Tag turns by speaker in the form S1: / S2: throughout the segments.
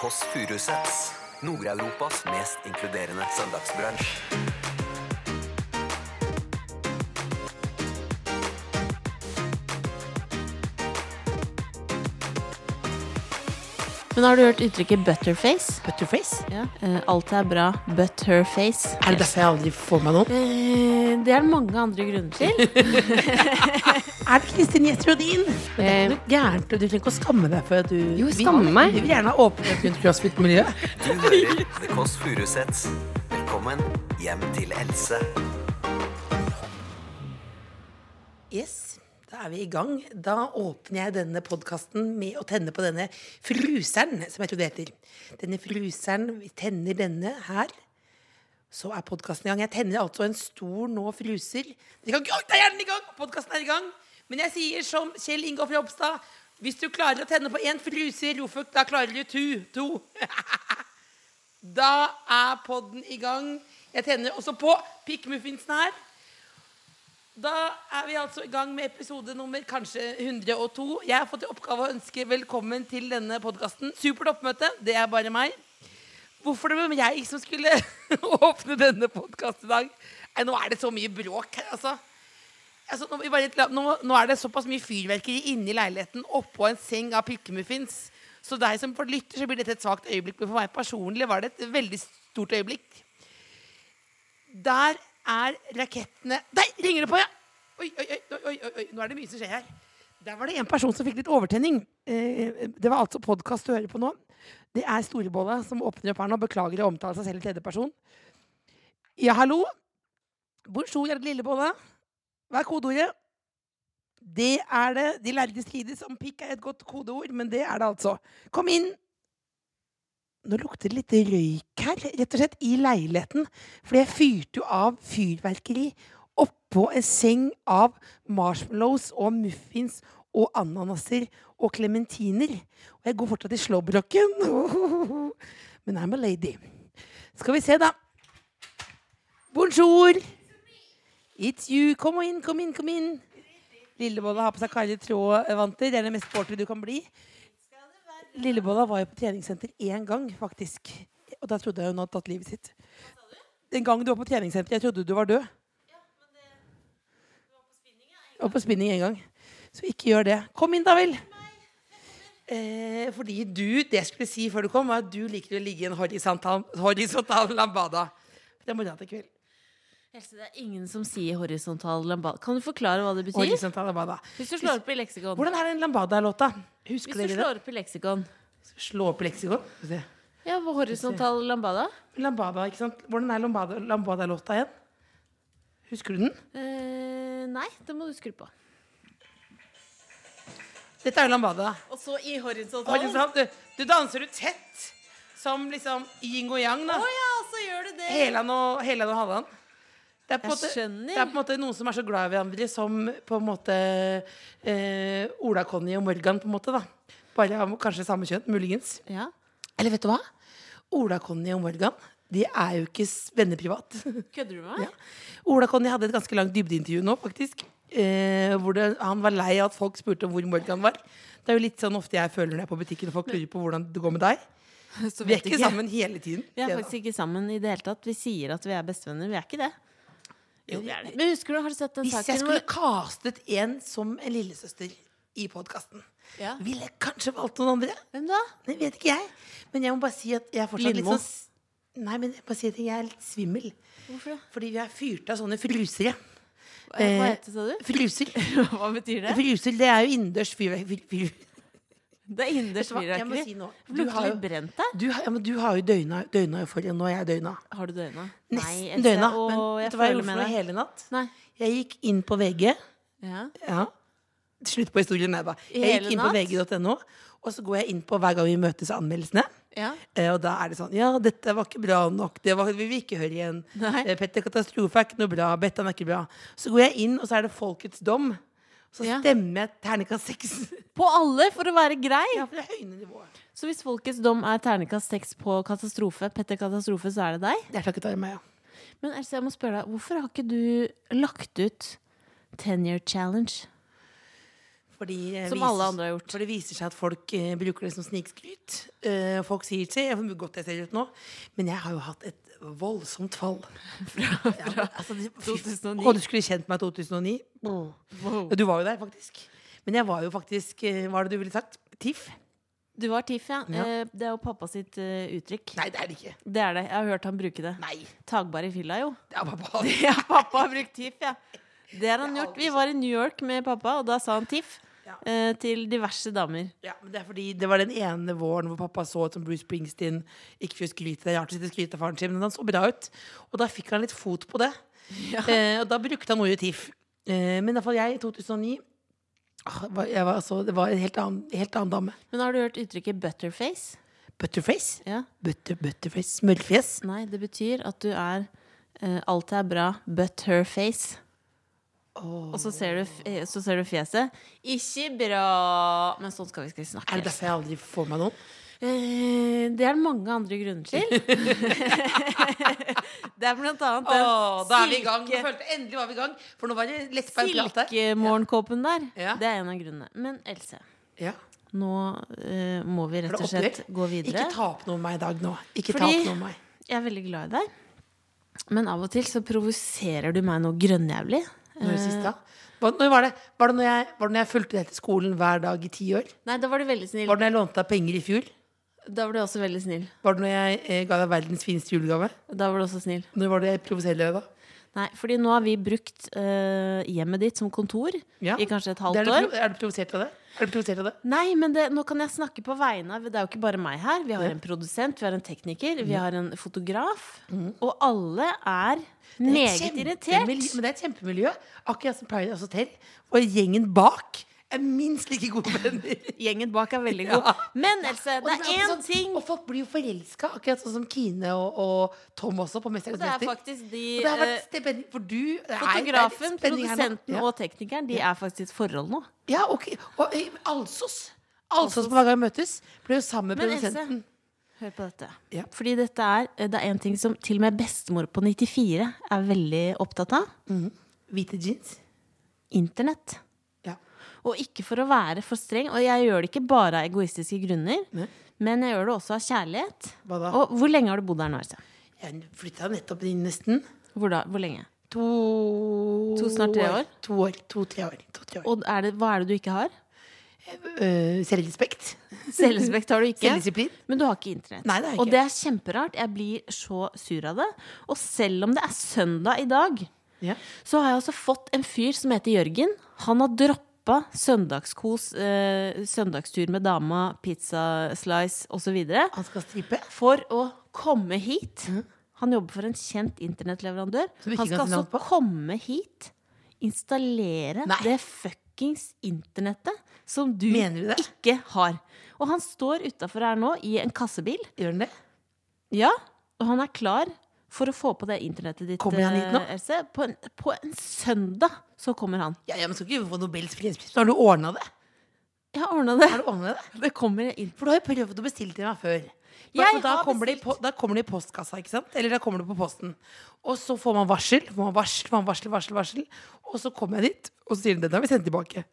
S1: Kåss Furuseths. Nord-Europas mest inkluderende søndagsbransj.
S2: Men har du hørt uttrykket 'butterface'?
S3: Butterface?
S2: Eh, alt er bra, but her face.
S3: Er det derfor jeg aldri får meg noen?
S2: Eh, det er det mange andre grunner til.
S3: Er det Kristin Jetrodin?
S2: Eh,
S3: Det er ikke noe gærent, og du trenger ikke å skamme deg for at du
S4: Jo, skamme meg.
S3: Vi vil gjerne ha åpenhet rundt crossfit-miljøet.
S1: Du hører The Kåss Furuseths. Velkommen hjem til Else.
S3: Yes, da er vi i gang. Da åpner jeg denne podkasten med å tenne på denne fruseren, som jeg tror det heter. Denne fruseren, vi tenner denne her. Så er podkasten i gang. Jeg tenner altså en stor nå fruser. Dere kan ikke- Oi, der er den i gang! Podkasten er i gang. Men jeg sier som Kjell Ingolf Ropstad, hvis du klarer å tenne på én fruser, Rofuk, da klarer du tu, to. Da er podden i gang. Jeg tenner også på pikkmuffinsen her. Da er vi altså i gang med episode nummer kanskje 102. Jeg har fått i oppgave å ønske velkommen til denne podkasten. Supert oppmøte. Det er bare meg. Hvorfor det var jeg som skulle åpne denne podkasten i dag? Nei, nå er det så mye bråk her, altså. altså nå, må vi bare, la- nå, nå er det såpass mye fyrverkeri inni leiligheten oppå en seng av pilkemuffins. Så deg som lytter, så blir dette et svakt øyeblikk. Men for meg personlig var det et veldig stort øyeblikk. Der er rakettene Der ringer det på, ja! Oi, oi, oi, oi, oi, oi, nå er det mye som skjer her. Der var det en person som fikk litt overtenning. Eh, det var altså podkast du hører på nå. Det er Storebolla som åpner opp her nå. Beklager å omtale seg selv i tredjeperson. Ja, hallo. Bonjour, Gjerde Lillebolla. Hva er kodeordet? Det er det. De lærde strides om pikk er et godt kodeord, men det er det altså. Kom inn. Nå lukter det litt røyk her, rett og slett, i leiligheten. Fordi jeg fyrte jo av fyrverkeri oppå en seng av marshmallows og muffins og ananaser og klementiner. Og jeg går fortsatt i slåbroken. Men I'm a lady. Skal vi se, da. Bonjour. It's you. Kom inn, kom inn, kom inn. Lillebolla har på seg Kari Traa-vanter. Det er det mest sporty du kan bli. Lillebolla var jo på treningssenter én gang, faktisk. Og da trodde jeg hun hadde tatt livet sitt. Den gang du var på treningssenter, jeg trodde du var død. Og på spinning en gang. Så ikke gjør det. Kom inn, da vel. Eh, fordi du, det jeg skulle si før du kom, var at du liker å ligge i en horisontal, horisontal lambada. Det er mora til kveld.
S2: Else, det er ingen som sier horisontal lambada. Kan du forklare hva det betyr?
S3: Horisontal lambada.
S2: Hvis du slår opp i leksikon.
S3: Hvordan er den lambada-låta?
S2: Hvis
S3: Husker
S2: du
S3: dere det?
S2: slår opp i leksikon.
S3: Slå opp leksikon. Skal vi se.
S2: Ja, hva horisontal lambada?
S3: Lambada, ikke sant? Hvordan er lambada- lambada-låta igjen? Husker du den?
S2: Eh, nei, det må du skru på.
S3: Dette er jo lambada.
S2: Og så i
S3: Ja, ikke
S2: horisontal.
S3: sant? Du, du danser ut tett, som liksom yin og yang. da.
S2: ja, så gjør du det.
S3: Helan og, Helan og Halland. Det er, på
S2: Jeg
S3: en måte,
S2: skjønner.
S3: det er på en måte noen som er så glad i hverandre som på en måte eh, Ola-Conny og Morgan, på en måte. da Bare av kanskje samme kjønn, muligens.
S2: Ja.
S3: Eller vet du hva? Ola-Conny og Morgan De er jo ikke s- venner privat.
S2: Kødder du med meg?
S3: Ja. Ola-Conny hadde et ganske langt dybdeintervju nå, faktisk. Eh, hvor det, han var lei av at folk spurte om hvor Morgan var. Det er jo litt sånn ofte jeg føler når jeg er på butikken og folk lurer på hvordan det går med deg.
S2: Så
S3: Vi er
S2: vet
S3: ikke sammen hele tiden.
S2: Vi er
S3: Det da.
S2: faktisk ikke sammen i det hele tatt. Vi sier at vi er bestevenner. Vi er ikke det. Jo, vi er det. Men husker du, har du sett den
S3: Hvis jeg
S2: saken
S3: skulle castet en som en lillesøster i podkasten,
S2: Ja.
S3: ville jeg kanskje valgt noen andre.
S2: Hvem da?
S3: Det vet ikke jeg. Men jeg må bare si at jeg er fortsatt
S2: Lindmo?
S3: litt sånn Nei, men jeg må bare si at jeg er litt svimmel.
S2: Hvorfor det?
S3: Fordi vi er fyrt av sånne frusere.
S2: Hva
S3: Eh,
S2: hva heter det, sa du?
S3: Fruser.
S2: Hva betyr det?
S3: Fruser, det er jo innendørs fyrverkeri. Fyr, fyr.
S2: Det er innendørs
S3: Vet du hva, jeg må
S2: fyrverkeri.
S3: si noe.
S2: Det
S3: Du
S2: Lukter
S3: har jo-
S2: litt brent der.
S3: Du, har- ja, men du har jo døgna, døgna euforien, nå er jeg døgna.
S2: Har du døgna?
S3: Nesten døgna. Men vet du hva jeg gjorde for noe hele natt?
S2: Nei.
S3: Jeg gikk inn på VG.
S2: Ja.
S3: Ja. Slutt på historien, nei da. Jeg
S2: Hele
S3: gikk inn på
S2: natt?
S3: vg.no, og så går jeg inn på hver gang vi møtes anmeldelsene.
S2: ja.
S3: Eh, Og da er det sånn Ja, dette var ikke bra nok. Det var, vi vil ikke høre igjen.
S2: Nei.
S3: Eh, Petter Katastrofe er ikke noe bra. Bettan er ikke bra. Så går jeg inn, og så er det Folkets dom. Så
S2: Ja.
S3: stemmer jeg terningkast seks.
S2: På alle, for å være grei!
S3: Ja, for å høyne nivået.
S2: Så hvis folkets dom er terningkast seks på katastrofe, Petter Katastrofe, så er det deg?
S3: Det er takket være meg, ja.
S2: Men Else, jeg må spørre deg, hvorfor har ikke du lagt ut Tenure Challenge?
S3: Fordi, eh,
S2: Som
S3: viser-
S2: alle andre har gjort.
S3: For det viser seg at folk eh, bruker det som snikskryt. Eh, folk sier til Jeg vet hvor godt jeg ser ut nå, men jeg har jo hatt et voldsomt fall. Ja, altså, det- fy-
S2: 2009.
S3: Å, du skulle kjent meg i 2009. Mm.
S2: Wow.
S3: Ja, Du var jo der, faktisk. Men jeg var jo faktisk eh, Hva er det du ville sagt? Tiff?
S2: Du var Tiff, ja.
S3: Ja.
S2: Eh, Det er jo pappa sitt eh, uttrykk.
S3: Nei, det er det ikke.
S2: Det er det. Jeg har hørt han bruke det.
S3: Nei.
S2: Tagbar i fylla, jo.
S3: Det er pappa.
S2: Ja, pappa har brukt Tiff, ja. Det har han
S3: Det er
S2: gjort. Vi var i New York med pappa, og da sa han Tiff
S3: Ja.
S2: eh, til diverse damer.
S3: Ja, men det er fordi det var den ene våren hvor pappa så ut som Bruce Springsteen. Ikke for å skryte, det er rart å sitte og skryte av faren sin, men han så bra ut. Og da fikk han litt fot på det. Eh, og da brukte han ordet TIFF. Eh, men iallfall jeg, i 2009 ah, var- jeg var, altså, Det var en helt annen, helt annen dame.
S2: Men har du hørt uttrykket butterface?
S3: Butterface?
S2: Ja.
S3: Butter, butterface, Smørfjes?
S2: Nei, det betyr at du er eh, Alt er bra, but her face. Og så ser, du, f- eh, så ser du fjeset. Ikke bra! Men sånn skal vi ikke snakke.
S3: Er det derfor jeg aldri får meg noen?
S2: Eh, det er det mange andre grunner til. det er blant annet den silke-
S3: endelig var vi i gang. For nå var det lettbeint
S2: silkemorgenkåpen der.
S3: Ja.
S2: Det er en av grunnene. Men Else,
S3: Ja.
S2: nå eh, må vi
S3: Er
S2: rett
S3: det
S2: og slett
S3: opplegg?
S2: gå videre.
S3: Ikke ta opp noe om meg i dag nå. Ikke ta
S2: Fordi-
S3: opp noe om meg.
S2: Jeg er veldig glad i deg. Men av og til så provoserer du meg noe grønnjævlig.
S3: Når det sist da? Eh, Hva, når var, det? Var, det når jeg, var det når jeg fulgte deg til skolen hver dag i ti år?
S2: Nei, da var du veldig snill.
S3: Var det når jeg lånte deg penger i fjor?
S2: Da var du også veldig snill.
S3: Var det når jeg eh, ga deg verdens fineste julegave?
S2: Da var du også snill.
S3: Når var det jeg provoserte deg da?
S2: Nei, fordi nå har vi brukt eh, hjemmet ditt som kontor
S3: Ja.
S2: i kanskje et
S3: Det
S2: halvt
S3: er, du,
S2: år.
S3: pro- er du provosert av det? Er du provosert av det?
S2: Nei, men det, nå kan jeg snakke på vegne av Det er jo ikke bare meg her. Vi har en produsent, vi har en tekniker,
S3: Mm.
S2: vi har en fotograf. Og alle er meget
S3: Kjempemiljø-
S2: irritert.
S3: Men det er et kjempemiljø. Akkurat som Paradise Hotel. Og gjengen bak er minst like gode venner.
S2: Gjengen bak er veldig god.
S3: Ja.
S2: Men Else,
S3: Og
S2: det er
S3: alltid
S2: én
S3: sånn-
S2: ting
S3: Og folk blir jo forelska, akkurat sånn som Kine og, og Tom også, på Mesternes
S2: Det er
S3: mester.
S2: faktisk de
S3: Og det har
S2: eh,
S3: vært spenning for du det er- det er
S2: Fotografen,
S3: spenning her nå.
S2: produsenten
S3: Ja.
S2: og teknikeren De er faktisk i et forhold nå.
S3: Ja, ok. Og eh, Alsos. Alsos på Hver gang vi møtes, ble jo sammen med
S2: Men Else,
S3: produsenten.
S2: hør på dette.
S3: mm. Ja.
S2: Fordi dette er eh, Det er en ting som til og med bestemor på 94 er veldig opptatt av.
S3: Hvite jeans.
S2: Internett.
S3: Ja.
S2: Og ikke for å være for streng. Og jeg gjør det ikke bare av egoistiske grunner.
S3: Nei.
S2: Men jeg gjør det også av kjærlighet.
S3: Hva da?
S2: Og hvor lenge har du bodd her nå? Else?
S3: Jeg flytta nettopp inn nesten.
S2: Hvor, da, hvor lenge?
S3: To
S2: To snart tre år?
S3: To år. To-tre år. To-tre år.
S2: Og er det, hva er det du ikke har?
S3: Eh, selvrespekt.
S2: Selvrespekt har du ikke.
S3: Selvdisiplin.
S2: Men du har ikke internett.
S3: Nei, det har jeg ikke.
S2: Og det er kjemperart. Jeg blir så sur av det. Og selv om det er søndag i dag,
S3: Ja.
S2: så har jeg altså fått en fyr som heter Jørgen. Han har droppa søndagskos, eh, søndagstur med dama, pizza slice osv.
S3: Han skal stripe.
S2: for å komme hit. Han jobber for en kjent internettleverandør.
S3: Mhm. Som vi ikke
S2: Han skal
S3: kan si navn
S2: altså
S3: på.
S2: komme hit, installere
S3: Nei.
S2: det fuckings internettet som du
S3: Mener du det?
S2: ikke har. Og han står utafor her nå i en kassebil.
S3: Gjør han det?
S2: Ja, og han er klar for å få på det internettet ditt.
S3: Kommer han hit nå?
S2: eh, Else. På en, på en søndag så kommer han.
S3: Ja, ja, men Skal ikke få Nobels fredspris. Men Har du ordna det?
S2: Jeg har ordna det.
S3: Har du ordnet det?
S2: Det kommer inn.
S3: For du har jo prøvd å bestille til meg før. Da,
S2: Jeg
S3: og da,
S2: har
S3: kommer det i po da kommer det i postkassa, ikke sant? Eller da kommer det på posten. Og så får man varsel, får man varsel, får man varsel, varsel, varsel. Og så kommer jeg dit, og så sier de den har vi sendt tilbake.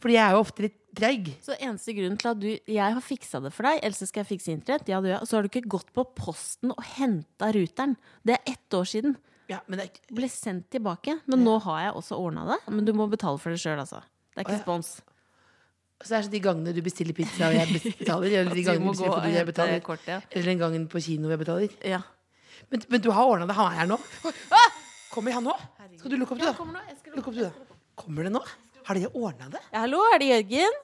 S3: Fordi jeg er jo ofte litt treig.
S2: Så eneste grunnen til at du Jeg har fiksa det for deg. Else skal jeg fikse internett. Ja, det gjør jeg. Og så har du ikke gått på posten og henta ruteren. Det er ett år siden.
S3: Ja, men det er ikke
S2: Ble sendt tilbake. Men nå har jeg også ordna det. Men du må betale for det sjøl, altså. Det er ikke spons.
S3: Så det er så de gangene du bestiller pizza og jeg betaler, eller
S2: At du
S3: de gangene
S2: må
S3: du bestiller
S2: gå og
S3: fordi jeg
S2: hente
S3: betaler,
S2: kortet, ja.
S3: eller den gangen på kino jeg betaler.
S2: Ja.
S3: Men, men du har ordna det, han er her nå. Ah! Kommer han nå? Skal du lukke opp, du, da? Lukk opp, du, da. Kommer det nå? Har dere ordna det?
S2: ja, hallo, er det Jørgen?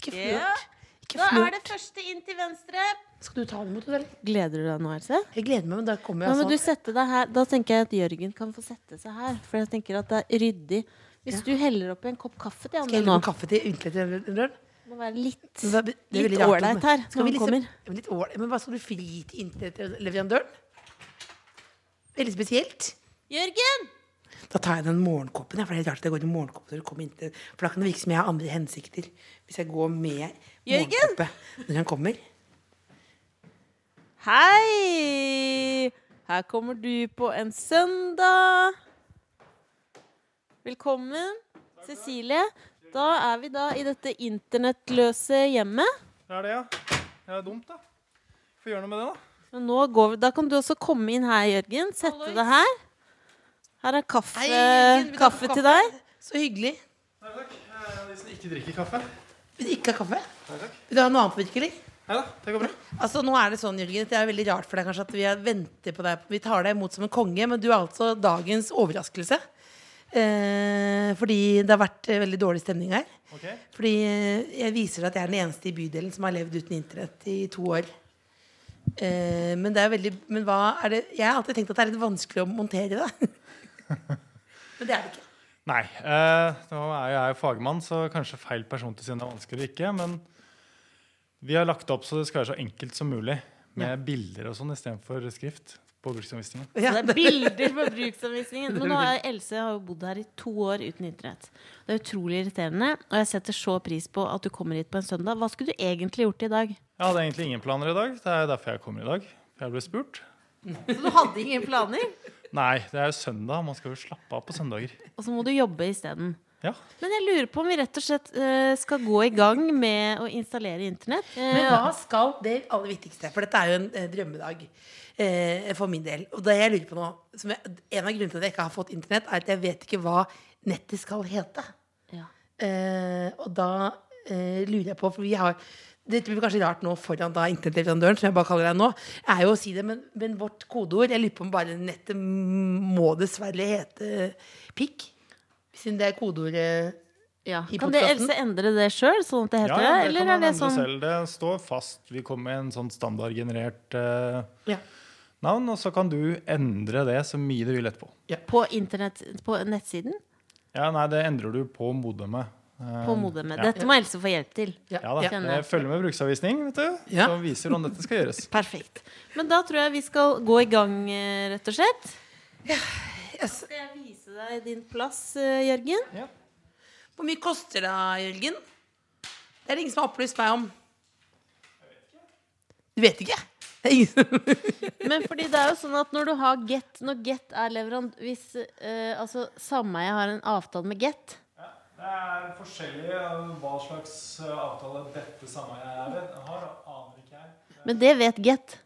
S3: Ikke
S2: Ja.
S3: flørt. Ikke flørt.
S2: første inn til venstre.
S3: Skal du ta den imot, eller?
S2: Gleder du deg nå, Else?
S3: Jeg gleder meg, men da kommer
S2: Nå
S3: jeg
S2: må du
S3: altså.
S2: sette deg her. Da tenker jeg at Jørgen kan få sette seg her. For jeg tenker at det er ryddig. Hvis du heller oppi en kopp kaffe til
S3: Skal
S2: Anne
S3: jeg
S2: nå
S3: lukke kaffe til inntil etter en øl?
S2: Det må være litt
S3: Men det er- det er
S2: Litt
S3: veldig rart,
S2: ålreit
S3: men-
S2: her,
S3: Skal
S2: når
S3: vi
S2: han
S3: liksom- Ja, men Litt ålreit, men hva skal du fri til inntil etter leverandøren? Veldig spesielt.
S2: Jørgen!
S3: Da tar jeg den morgenkoppen, ja, for det er helt rart at jeg går i morgenkoppen når du kommer inn til For da kan det virke som jeg har andre hensikter hvis jeg går med
S2: Jørgen?
S3: morgenkoppe når han kommer.
S2: Hei! Her kommer du på en søndag. Velkommen, Cecilie. Da er vi da i dette internettløse hjemmet.
S4: Det er det, ja. Det er dumt, da. Få gjøre noe med det, da.
S2: Men Nå går vi, da kan du også komme inn her, Jørgen. Sette
S3: Hallois.
S2: deg her. Her er kaffe,
S3: Hei, Jørgen, vil du ha
S2: Eh, kaffe til deg.
S3: Så hyggelig.
S4: Nei takk. Jeg er av de som ikke drikker kaffe.
S3: Vil du ikke ha kaffe?
S4: Nei takk.
S3: Vil du ha noe annet på virkelig?
S4: Nei da, det går bra.
S3: Altså, nå er Det sånn, Jørgen, at det er veldig rart for deg kanskje at vi er- venter på deg. Vi tar deg imot som en konge, men du er altså dagens overraskelse. Eh, fordi det har vært eh, veldig dårlig stemning her.
S4: Ok.
S3: Fordi eh, jeg viser deg at jeg er den eneste i bydelen som har levd uten internett i to år. Eh, men det er veldig Men hva er det Jeg har alltid tenkt at det er litt vanskelig å montere det. men det er det ikke.
S4: Nei. eh, nå er jo jeg fagmann, så kanskje feil person til siden er vanskelig eller ikke. Men vi har lagt opp så det skal være så enkelt som mulig. Med bilder og sånn istedenfor skrift på bruksanvisningen.
S2: Så det er bilder på bruksanvisningen. Men nå er Else har jo bodd her i to år uten internett. Det er utrolig irriterende, og jeg setter så pris på at du kommer hit på en søndag. Hva skulle du egentlig gjort i dag?
S4: Jeg hadde egentlig ingen planer i dag. Det er derfor jeg kommer i dag. Jeg ble spurt.
S2: Så du hadde ingen planer,
S4: Nei, det er jo søndag. Man skal jo slappe av på søndager.
S2: og så må du jobbe isteden.
S4: Ja.
S2: Men jeg lurer på om vi rett og slett eh, skal gå i gang med å installere internett. Eh,
S3: Men hva skal det aller viktigste? For dette er jo en eh, drømmedag eh, for min del. Og det jeg lurer på nå som jeg, En av grunnene til at jeg ikke har fått internett, er at jeg vet ikke hva nettet skal hete.
S2: ja.
S3: Eh, og da eh, lurer jeg på For vi har det blir kanskje rart nå foran da internettleverandøren, som jeg bare kaller deg nå, er jo å si det, men, men vårt kodeord Jeg lurer på om bare nettet må dessverre hete pikk. Siden det er kodeordet
S2: Ja.
S3: I
S2: Kan det
S3: podcasten?
S2: Else endre det sjøl, sånn at det
S4: Ja,
S2: heter
S4: ja,
S2: det?
S4: det kan
S2: Eller
S4: man
S2: er det
S4: endre
S2: sånn
S4: selv. Det står fast. Vi kommer med en sånn standardgenerert eh,
S3: ja.
S4: navn, og så kan du endre det så mye du vil etterpå.
S2: på internett på nettsiden?
S4: Ja, nei, det endrer du på modemet. Eh,
S2: På modemet.
S4: ja.
S2: Dette må Else få hjelp til.
S3: Ja,
S4: Ja da.
S3: ja.
S2: Kjenner jeg.
S4: Jeg følger med bruksanvisning, vet du.
S3: Ja.
S4: Som viser hvordan dette skal gjøres.
S2: Perfekt. Men da tror jeg vi skal gå i gang, eh, rett og slett.
S3: Yes.
S2: Skal jeg vise deg din plass, eh, Jørgen?
S4: Ja.
S3: Hvor mye koster det, Jørgen? Det er det ingen som har opplyst meg om. Du vet ikke? Det er ingen som...
S2: Men fordi det er jo sånn at når du har Get Når Get er leverand... Hvis eh, altså sameie har en avtale med Get
S4: Det er forskjellig hva slags eh, avtale dette sameiet har. Aner ikke jeg.
S2: Men det vet Get.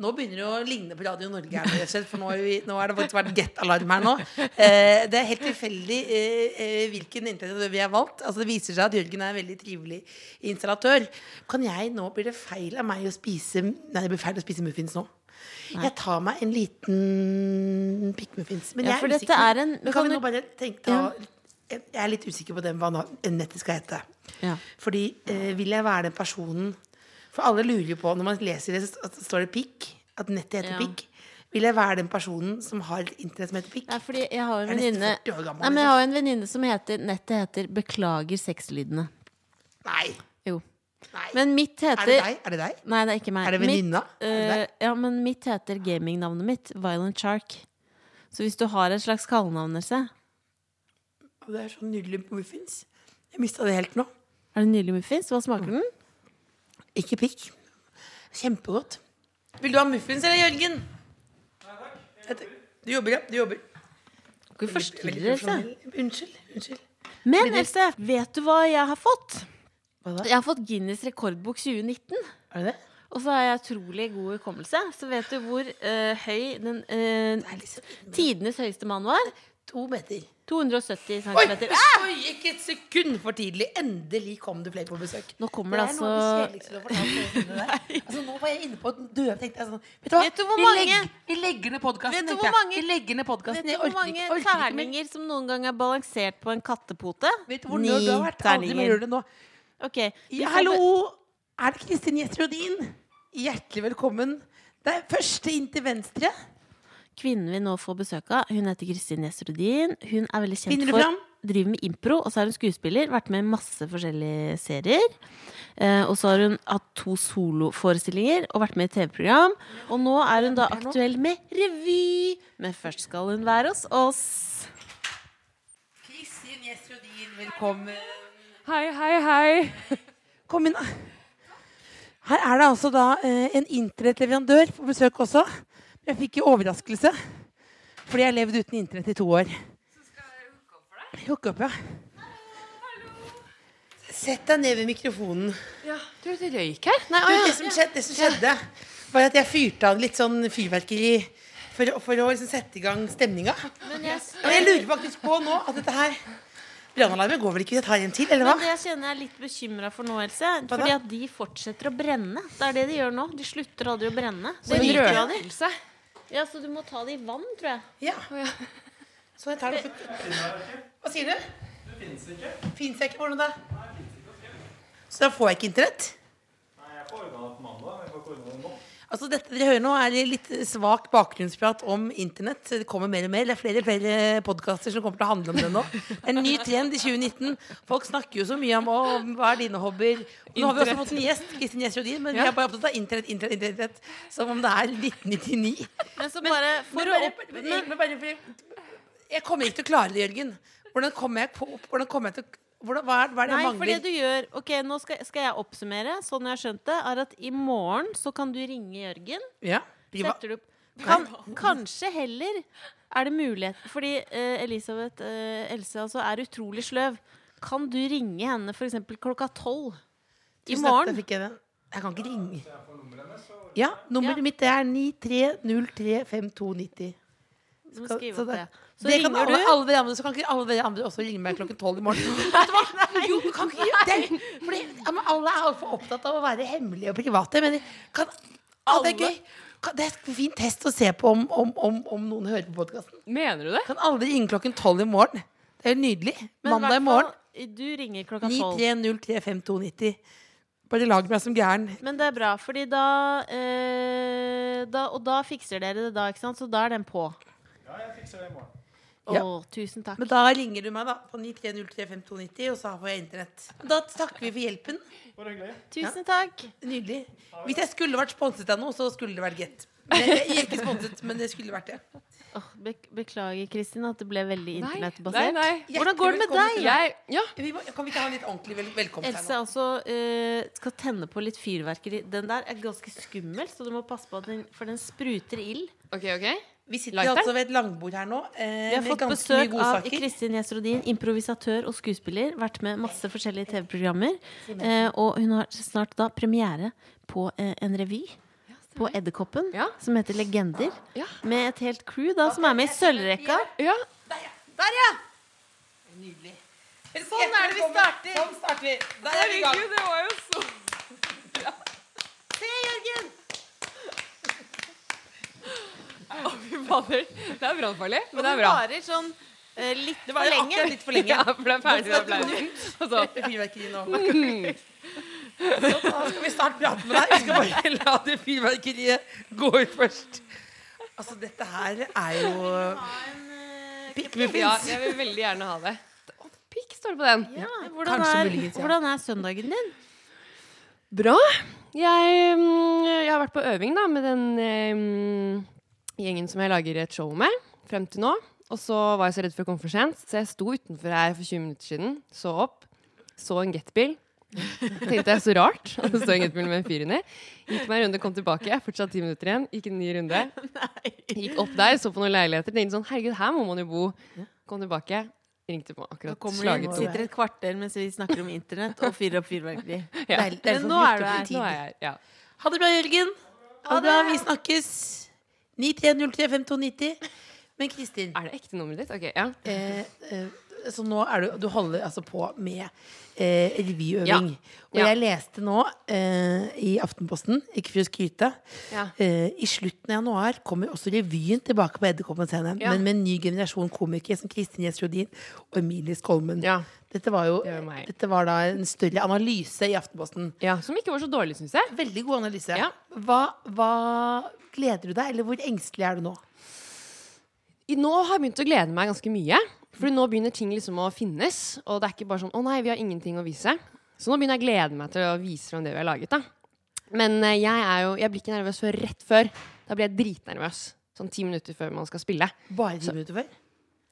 S3: Nå begynner det å ligne på Radio Norge, her, rett og slett, for nå har, vi, nå har det faktisk vært get-alarm her nå. Eh, det er helt tilfeldig eh, eh, hvilken internett vi har valgt. Altså, det viser seg at Jørgen er en veldig trivelig installatør. Kan jeg nå, Blir det feil av meg å spise Nei, det blir feil å spise muffins nå. Jeg tar meg en liten pikkmuffins. Men
S2: Ja,
S3: jeg
S2: for
S3: er
S2: dette
S3: usikker.
S2: er en-
S3: Men
S2: kan
S3: kan vi
S2: du-
S3: nå bare tenke da, Jeg jeg er litt usikker på den hva na- nettet skal hete.
S2: Ja.
S3: Fordi eh, vil jeg være den personen For alle lurer jo på Når man leser det, så st- at det står det pikk At nettet heter
S2: Ja.
S3: pikk Vil jeg være den personen som har et internett som heter pikk?
S2: Nei, fordi jeg har jo en
S3: Jeg er nesten
S2: venninne
S3: 40 år gammel, liksom?
S2: Nei, men jeg har jo en venninne som heter Nettet heter 'Beklager sexlydene'.
S3: Nei,
S2: Jo.
S3: nei
S2: Men mitt heter
S3: Er det deg? Er det deg?
S2: Nei, det er ikke meg.
S3: Er det
S2: Mitt,
S3: venninna? Er det
S2: eh, ja, men mitt heter gamingnavnet mitt. Violent Shark. Så hvis du har et slags kallenavn, Else
S3: Å, Det er så nydelig muffins Jeg mistet det helt nå
S2: Er det nydelig muffins? Hva smaker
S3: Mm.
S2: den?
S3: Ikke pikk Kjempegodt Vil du ha muffins eller Jørgen? Nei takk Du jobber, ja, du jobber
S2: Skal vi forstyrre, Else?
S3: Profesjonell. Unnskyld, unnskyld
S2: Men Else, vet du hva jeg har fått?
S3: Hva da?
S2: Jeg har fått Guinness rekordbok 2019.
S3: Er det det?
S2: Og så har jeg utrolig god hukommelse. Så vet du hvor eh, høy den eh,
S3: Det er liksom
S2: tidenes høyeste mann var?
S3: to meter
S2: 270
S3: Oi,
S2: cm.
S3: oi, ikke et sekund for tidlig. Endelig kom det flere på besøk.
S2: Nå kommer det
S3: Det er noe av det
S2: altså
S3: kjedeligste du har fortalt noensinne der. altså, nå var jeg inne på den døde tenkte jeg sånn, Vet du hva?
S2: Vet du hvor
S3: vi,
S2: mange-
S3: legger, vi legger ned podkasten.
S2: Vet du hvor mange-
S3: Vi legger ned
S2: Vet
S3: podkasten.
S2: du
S3: Jeg
S2: hvor
S3: orker
S2: mange
S3: ikke. Orker ikke mer.
S2: terninger som noen gang er balansert på en kattepote?
S3: Vet du hvor nerd du har vært? Aldri mer gjør det nå.
S2: Ok, vi
S3: Ja,
S2: får
S3: hallo!
S2: be-
S3: Er det Kristin Gjesrodin? Hjertelig velkommen. Det er første inn til venstre.
S2: Kvinnen vi nå får besøk av, hun heter Kristin Gjesrudin. Hun er veldig kjent
S3: Finner du
S2: for
S3: fram?
S2: Driver med impro, og så er hun skuespiller. Vært med i masse forskjellige serier. Eh, og så har hun hatt to soloforestillinger og vært med i TV-program. Og nå er hun da aktuell med revy! Men først skal hun være hos oss.
S3: Kristin Gjesrodin, velkommen.
S5: Hei, hei, hei.
S3: Kom inn. da. Her er det altså da eh, en internettleverandør på besøk også. Jeg fikk jo overraskelse. Fordi jeg har levd uten internett i to år. Så skal dere hooke opp for deg? Hooke opp, ja. Sett deg ned ved mikrofonen.
S5: Tror du det røyk her?
S3: Du, det, som skjedde, det som skjedde, var at jeg fyrte av litt sånn fyrverkeri for, å- for å liksom sette i gang stemninga.
S2: Men jeg,
S3: Og jeg lurer faktisk på nå at dette her Brannalarmen går vel ikke? Jeg tar en til, eller hva?
S2: men det jeg kjenner jeg er litt bekymra for nå, Else,
S3: da?
S2: fordi at de fortsetter å brenne. Det er det de gjør nå. De slutter aldri å brenne. Så,
S5: Det
S2: de
S5: er en
S2: drøner.
S5: røkelse.
S2: Ja, så du må ta det i vann, tror jeg.
S3: Ja.
S5: ja.
S3: Så jeg tar det for Hva sier du? Det fins ikke. Fins jeg ikke? Hvordan da? Så da får jeg ikke internett? Altså Dette dere hører nå, er litt svak bakgrunnsprat om internett. Det kommer mer og mer. Det er flere og flere podkaster som kommer til å handle om det nå. En ny trend i 2019. Folk snakker jo så mye om å, hva er dine hobbyer. Og Nå har vi også fått en gjest, Kristin Gjest Jodin, men vi
S5: Ja.
S3: er bare opptatt av internett, internett, internett. Som om det er 1999.
S2: Men så bare for
S3: Men
S2: å
S3: bare-
S2: opp...
S3: men-
S2: Men,
S3: men bare for- Jeg kommer ikke til å klare det, Jørgen. Hvordan kommer jeg på Hvordan kommer jeg til å- hvordan, hva, er, hva er det jeg
S2: nei, for det
S3: mangler?
S2: du gjør Ok, nå skal, skal jeg oppsummere, sånn jeg har skjønt det, er at i morgen så kan du ringe Jørgen.
S3: Ja, priva-
S2: Setter du opp kan, Kanskje heller er det mulighet Fordi eh, Elisabeth eh, Else altså, er utrolig sløv. Kan du ringe henne f.eks. klokka tolv i
S3: Tusen takk, da
S2: morgen?
S3: fikk jeg, det. jeg kan ikke ringe. Ja, Nummeret mitt det er 93035290.
S2: Du må
S3: Skal-
S2: skrive
S3: så
S2: opp det.
S3: det-
S2: Så
S3: Det kan
S2: ringer
S3: alle,
S2: du.
S3: alle dere andre, så kan ikke alle dere andre også ringe meg klokken tolv i morgen. Vet du hva? Jo, du kan ikke gjøre det! Fordi, ja, men alle er altfor opptatt av å være hemmelige og private. Men kan, alle. Det er gøy. Kan, det er en fin test å se på om, om, om, om noen hører på podkasten.
S5: Mener du det?
S3: Kan alle ringe klokken tolv i morgen? Det er jo nydelig.
S2: Men i hvert
S3: Mandag i
S2: fall,
S3: morgen.
S2: Du ringer klokka tolv.
S3: 93035290. Bare lag meg som gæren.
S2: Men det er bra, fordi da, eh, da Og da fikser dere det da, ikke sant? Så da er den på.
S4: Ja, jeg fikser det i morgen.
S2: Å,
S3: Ja.
S2: tusen takk.
S3: Men da ringer du meg da på 93035290, og så får jeg internett. Da takker vi for hjelpen.
S4: Bare hyggelig.
S2: Tusen takk.
S3: Nydelig. Hvis jeg skulle vært sponset av noe, så skulle det vært Get. Men Jeg jeg er ikke sponset, men det skulle vært det.
S2: Åh, bek- beklager, Kristin, at det ble veldig
S5: Nei,
S2: internettbasert.
S5: nei, nei.
S2: Hvordan går det med
S3: Hjertelig
S2: deg?
S3: velkommen til-
S5: Jeg Ja.
S3: Vi må, kan vi ikke ha en litt ordentlig vel velkomst
S2: Else
S3: her nå?
S2: altså eh, skal tenne på litt fyrverkeri. Den der er ganske skummel, så du må passe på at den For den spruter ild.
S5: OK, OK.
S3: Vi sitter
S5: Lighter?
S3: altså ved et langbord her nå. Eh,
S2: Vi har
S3: med
S2: fått
S3: ganske mye
S2: besøk av
S3: godsaker.
S2: Kristin Gjesrodin, improvisatør og skuespiller. Vært med masse forskjellige TV-programmer. Eh, og hun har snart da premiere på eh, en revy på Edderkoppen
S5: Ja.
S2: som heter Legender.
S5: Ja.
S2: Med et helt crew da som er med i sølvrekka.
S5: Ja.
S3: Der, ja! Der, ja. Nydelig. Sånn er det vi starter. Sånn starter vi. Der er vi i gang.
S5: Herregud, det var jo så
S3: Se, Jørgen!
S5: Å, fy fader. Det er brannfarlig, men det er bra.
S2: varer sånn litt
S3: Det var jo akkurat litt for lenge.
S5: Ja, for det er ferdig applausen. Og så
S3: Fyrverkeri nå. Så da skal vi snart prate med deg. Vi skal bare la det fyrverkeriet gå ut først. Altså, dette her er jo
S5: Ja,
S2: eh,
S3: Pikkmuffins.
S5: jeg vil veldig gjerne ha det. Å, Pikk står det på den.
S2: Ja, hvordan,
S3: Kanskje
S2: er,
S3: muligens, ja.
S2: hvordan er søndagen din?
S5: Bra. Jeg, mm, jeg har vært på øving da, med den eh, mm, gjengen som jeg lager et show med, frem til nå. Og så var jeg så redd for å komme for sent, så jeg sto utenfor her for 20 minutter siden, så opp, så en getbil. Tenkte jeg så rart at det står en getbil med en fyr inni. Gikk meg en runde, kom tilbake, fortsatt 10 minutter igjen, gikk en ny runde. Gikk opp der, så på noen leiligheter, tenkte sånn, herregud, her må man jo bo. Kom tilbake, ringte på akkurat slaget to.
S2: sitter et kvarter mens vi snakker om internett og fyrer opp fyrverkeri.
S5: Ja.
S3: Deilig. Det er
S2: Men
S3: sånn
S2: nå er du
S3: midt oppi
S2: her.
S3: tid.
S5: Nå er jeg, ja.
S3: Ha det bra, Jørgen. Ha det bra. Vi snakkes. 93035290. Men Kristin,
S5: Er det ekte nummeret ditt? Ok, ja.
S3: eh, eh, så nå er du Du holder altså på med eh,
S5: Ja.
S3: revyøving. Og
S5: Ja.
S3: jeg leste nå eh, i Aftenposten, ikke for å skryte,
S5: ja.
S3: Eh, I slutten av januar kommer også revyen tilbake på Edderkoppen scene.
S5: Ja.
S3: Men med en ny generasjon komikere som Kristin Gjess Rodin og Emilie Skolmen.
S5: Ja.
S3: Dette var jo
S5: Det var meg.
S3: dette var da en større analyse i Aftenposten.
S5: Ja, Som ikke var så dårlig, syns jeg.
S3: Veldig god analyse.
S5: Ja.
S3: Hva, hva gleder du deg, eller hvor engstelig er du nå?
S5: I- Nå har jeg begynt å glede meg ganske mye. Fordi nå begynner ting liksom å finnes. Og det er ikke bare sånn 'Å nei, vi har ingenting å vise'. Så nå begynner jeg å glede meg til å vise frem det vi har laget. da Men eh, jeg, er jo, jeg blir ikke nervøs før rett før. Da blir jeg dritnervøs. Sånn ti minutter før man skal spille.
S3: Bare ti minutter før?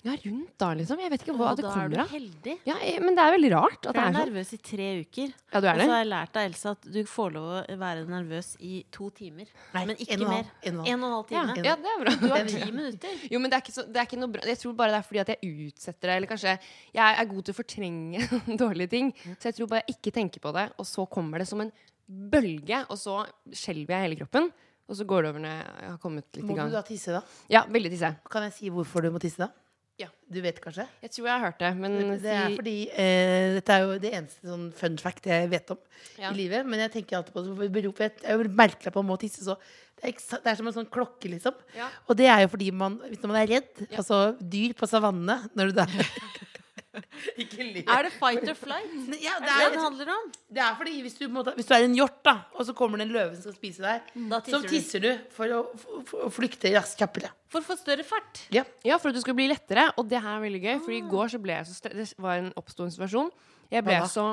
S5: Ja, rundt da, liksom. Jeg vet ikke hva
S2: Og
S5: det
S2: da er du
S5: kommer av.
S2: heldig.
S5: Ja, jeg- men det er veldig rart at
S2: For
S5: det
S2: jeg
S5: er
S2: er
S5: sånn.
S2: nervøs i tre uker.
S5: Ja, du
S2: Og så
S5: er det?
S2: har jeg lært av Elsa at du får lov å være nervøs i to timer.
S3: Nei,
S2: men ikke
S3: en og en halv.
S2: mer.
S3: En
S2: En
S3: og
S2: og
S3: en
S2: en halv
S5: Ja,
S2: time.
S5: ja, det er bra.
S2: Du har ti minutter.
S5: Jo, men det er, ikke så, det er ikke noe bra Jeg tror bare det er fordi at jeg utsetter det. Eller kanskje jeg er god til å fortrenge dårlige ting. Så jeg tror bare jeg ikke tenker på det, og så kommer det som en bølge, og så skjelver jeg hele kroppen. Og så går det over når jeg har kommet litt
S3: Må du
S5: i gang.
S3: da tisse, da?
S5: Ja, veldig tisse.
S3: Kan jeg si hvorfor du må tisse, da?
S5: Ja.
S3: Du vet kanskje?
S5: Jeg tror jeg har hørt det, men
S3: Det er
S5: si-
S3: fordi eh, Dette er jo det eneste sånn fun fact jeg vet om
S5: Ja.
S3: i livet. Men jeg tenker alltid på det, for det beror på- Jeg jeg har merket meg på å må tisse, så det er, eksa, det er som en sånn klokke, liksom.
S5: Ja.
S3: Og det er jo fordi man Hvis man er redd,
S5: Ja.
S3: altså dyr på savannene når du da Ikke lyv.
S2: Er det fight or flight?
S3: Ja, det
S2: Det er det det
S3: er,
S2: handler om.
S3: det er fordi hvis du, må, ta- hvis du er en hjort, da, og så kommer det en løve som skal spise deg,
S2: Da
S3: så
S2: tisser du.
S3: tisser du for å, for, for å flykte raskt kjappere.
S2: For å få større fart.
S3: Ja.
S5: Ja, for at du skal bli lettere. Og det her er veldig gøy, for i går så ble jeg så stre- Det var en oppstående situasjon. Jeg ble
S3: Hva da?
S5: så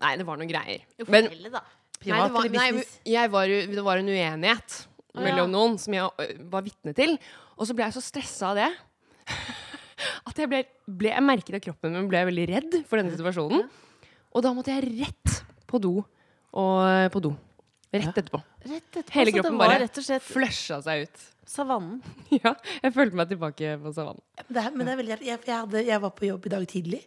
S5: Nei, det var noen greier.
S2: Jo,
S5: Men
S2: fortell det, da.
S5: Nei, det
S3: Privat
S5: var,
S3: eller
S5: nei,
S3: business?
S5: jeg var, jo- det var en uenighet
S2: Å,
S5: mellom
S2: ja.
S5: noen som jeg ø, var vitne til. Og så ble jeg så stressa av det at jeg, ble, ble, jeg merket at kroppen min ble veldig redd for denne situasjonen. Og da måtte jeg rett på do. Og ø, på do. Rett etterpå.
S2: Rett etterpå,
S5: Hele
S2: så
S5: kroppen
S2: det var
S5: bare-
S2: rett og slett
S5: Flusha seg ut.
S2: savannen.
S5: Ja, jeg følte meg tilbake på savannen.
S3: Det er, men det er veldig rart. Jeg, jeg, hadde, jeg var på jobb i dag tidlig.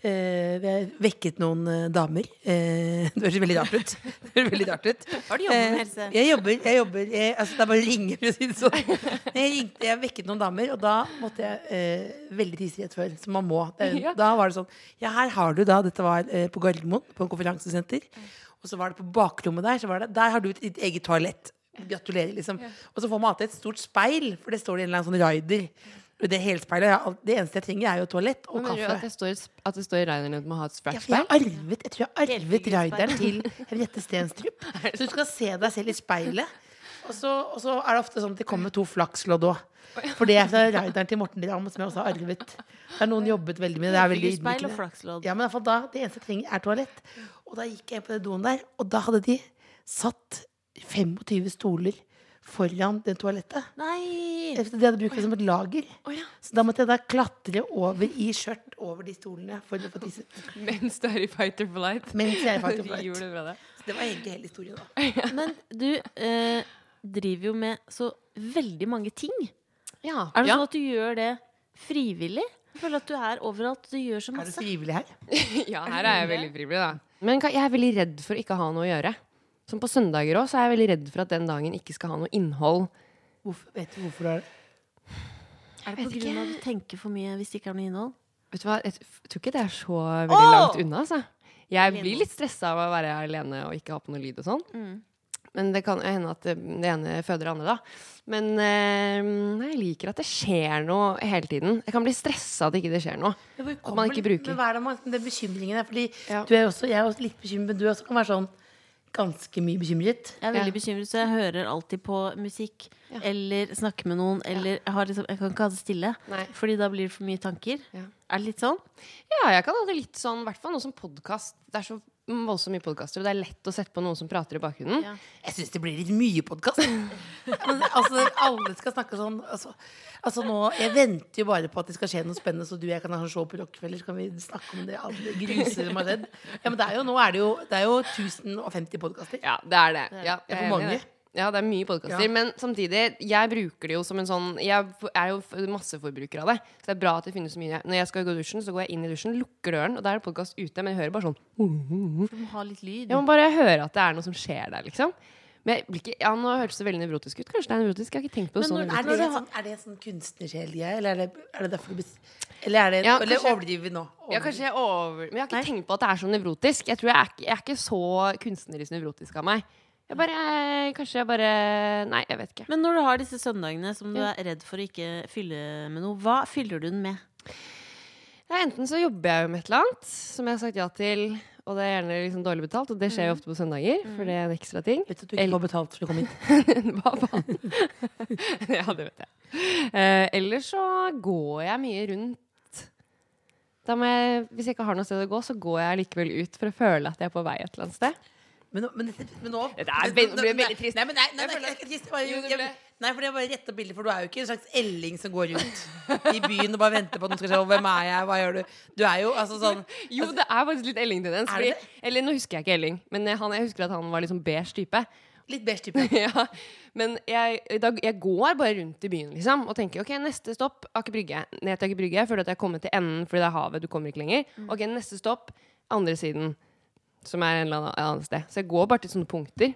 S3: Eh, jeg vekket noen eh, damer. Eh, det høres veldig rart ut. Det høres veldig rart ut.
S2: Har du
S3: Eh, jeg jobber, jeg jobber jeg, altså Det er bare å ringe, for å si det sånn. Jeg, ringte, jeg vekket noen damer, og da måtte jeg eh, veldig tisse rett før. Som man må. Det, er-
S5: Ja.
S3: Da var det sånn Ja, her har du da Dette var eh, på Gardermoen, på en konferansesenter. Og så var det på bakrommet der. Så var det, der har du ditt eget toalett. Gratulerer, liksom. Og så får man alltid et stort speil, for det står i en eller annen sånn raider. Det helspeilet, jeg har alt- det eneste jeg trenger, er jo toalett og
S5: Men mener du at
S3: kaffe.
S5: det står, at det står i Reineren at man har et
S3: Ja, for jeg,
S5: scratchback?
S3: har arvet, jeg tror jeg har arvet
S2: Delfigurspeil.
S3: rideren til Henriette Stenstrup. Så du skal se deg selv i speilet. Og så, og så er det ofte sånn at det kommer to flakslodd òg. For det er fra rideren til Morten Ramm, som jeg også har arvet. Det er noen jobbet veldig med det. er veldig
S2: Speil og
S3: ydmykende.
S2: flakslodd.
S3: Ja, men i hvert fall da, Det eneste jeg trenger, er toalett. Og da gikk jeg inn på den doen der, og da hadde de satt 25 stoler foran det toalettet.
S2: Nei!
S3: De hadde brukt det som et lager.
S5: Å ja.
S3: Så da måtte jeg da klatre over i skjørt over de stolene for å få tisset.
S5: Mens du er i Fighter for Light?
S3: Mens jeg faktisk
S5: Gjorde du bra det?
S3: det var egentlig hele historien, da.
S2: Men du eh, driver jo med så veldig mange ting.
S5: Ja.
S2: Er det
S5: ja.
S2: sånn at du gjør det frivillig? Jeg føler at du er overalt. Du gjør så
S3: Er det
S2: masse.
S3: frivillig her?
S5: Ja, her er jeg veldig frivillig, da. Men ka- jeg er veldig redd for å ikke ha noe å gjøre. Som på søndager òg, så er jeg veldig redd for at den dagen ikke skal ha noe innhold.
S3: Hvorfor, vet du hvorfor du er det?
S2: Er det på
S5: vet
S2: grunn av at
S5: ikke.
S2: du tenker for mye hvis det ikke er noe innhold?
S5: Vet du hva, jeg t- f- tror ikke det er så veldig
S2: Åh!
S5: langt unna, altså. Jeg
S2: Alene.
S5: blir litt stressa av å være alene og ikke ha på noe lyd og sånn. Men det kan jo hende at det det ene føder det andre, da. Men eh, nei, jeg liker at det skjer noe hele tiden. Jeg kan bli stressa at ikke det skjer noe.
S3: At
S5: man ikke bruker.
S3: Men hva er det med den bekymringen der? Fordi
S5: Ja.
S3: du er jo også, jeg er også litt bekymret, men du også kan være sånn ganske mye bekymret.
S2: Jeg er veldig
S5: Ja.
S2: bekymret, så jeg hører alltid på musikk.
S5: Ja.
S2: Eller snakker med noen. Eller jeg, har liksom, jeg kan ikke ha det stille.
S5: Nei.
S2: Fordi da blir det for mye tanker.
S5: Ja.
S2: Er det litt sånn?
S5: Ja, jeg kan ha det litt sånn, i hvert fall noe som podkast. Det er så voldsomt mye podkaster, og det er lett å sette på noen som prater i bakgrunnen.
S2: Ja.
S3: Jeg syns det blir litt mye podkast. altså, alle skal snakke sånn. Altså, altså nå, jeg venter jo bare på at det skal skje noe spennende, så du og jeg kan ha sånn show på Rockefeller, så kan vi snakke om det alle gruser meg redd. Ja, men det er jo, nå er det jo, det er jo 1050 podkaster.
S5: Ja, det er det. Ja,
S3: Det er for
S5: jeg enig i
S3: mange.
S5: det. Ja, det er mye podkaster.
S3: Ja.
S5: Men samtidig, jeg bruker det jo som en sånn Jeg f- er jo f- masseforbruker av det. Så det er bra at det finnes så mye. Når jeg skal gå i dusjen, så går jeg inn i dusjen, lukker døren, og da er det podkast ute. Men jeg hører bare sånn
S2: Du må ha litt lyd.
S5: Jeg må bare høre at det er noe som skjer der, liksom. Men jeg blir ikke, ja, nå høres det veldig nevrotisk ut. Kanskje det er nevrotisk? Jeg har ikke tenkt på det
S2: Men
S5: sånn.
S2: når
S5: nevrotisk.
S3: Er det, en sånn, er det en sånn kunstnersjelgreie, eller er det, er det derfor du bes... Eller, er det,
S5: Ja,
S3: eller
S5: kanskje-
S3: overdriver vi nå?
S5: Ja, kanskje jeg over... Men jeg har ikke tenkt på at det er så nevrotisk. Jeg tror jeg er, ikke- jeg er ikke så kunstnerisk nevrotisk av meg. Jeg bare, kanskje jeg bare Nei, jeg vet ikke.
S2: Men når du har disse søndagene som du er redd for å ikke fylle med noe, hva fyller du den med?
S5: Ja, enten så jobber jeg jo med et eller annet som jeg har sagt ja til, og det er gjerne liksom dårlig betalt, og det skjer jo ofte på søndager, for det er en ekstra ting.
S3: Vet du Mm. at du ikke
S5: Eller-
S3: får betalt for å komme hit?
S5: Hva faen? ja, det vet jeg. Eh, ellers så går jeg mye rundt. Da må jeg, hvis jeg ikke har noe sted å gå, så går jeg likevel ut for å føle at jeg er på vei et eller annet sted.
S3: Men, nå- men, dette- men nå
S5: Det er ve- det blir veldig trist.
S3: Nei, men nei, nei,
S5: Jeg
S3: nei,
S5: føler-
S3: ikke trist. Jeg, bare-
S5: Jo, det
S3: jeg,
S5: ble-
S3: jeg, Nei, for det er bare rett opp bildet, for du er jo ikke en slags elling som går rundt i byen og bare venter på at noen skal se hvem er jeg, hva gjør du? Du er jo altså sånn
S5: Jo, det er faktisk litt Elling-tendens.
S3: Er det
S5: fordi- Eller nå husker jeg ikke Elling, men eh, han, jeg husker at han var liksom beige type.
S3: litt beige type.
S5: ja. Men jeg, i dag, jeg går bare rundt i byen liksom, og tenker ok, neste stopp Aker Brygge. Ned til Aker Brygge. Jeg føler at jeg har kommet til enden fordi det er havet. Du kommer ikke lenger. Ok, neste stopp andre siden, som er en eller annen, et annet sted. Så jeg går bare til sånne punkter.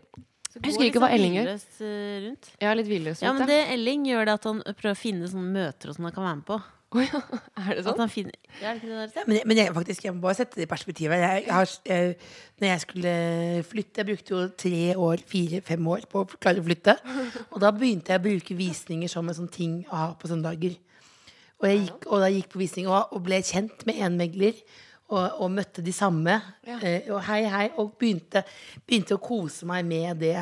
S5: Jeg husker ikke hva Elling gjør.
S2: liksom eh, Rundt.
S5: Jeg er litt hvileløs.
S2: Ja, men
S5: vet du.
S2: det Elling gjør, det at han prøver å finne sånne møter og sånn han kan være med på.
S5: Å ja, er det
S2: At
S5: sånn?
S2: han finner Ja, er det ikke det der? Stine?
S3: Men, jeg, men jeg, faktisk, jeg må bare sette det i perspektivet. Jeg, jeg har, jeg, når jeg skulle flytte Jeg brukte jo tre år, fire-fem år på å klare å flytte. Og da begynte jeg å bruke visninger som en sånn ting å ha på søndager. Og jeg gikk, og da gikk på visning og, og ble kjent med en megler. Og, og møtte de samme. Eh, og hei, hei. Og begynte, begynte å kose meg med det.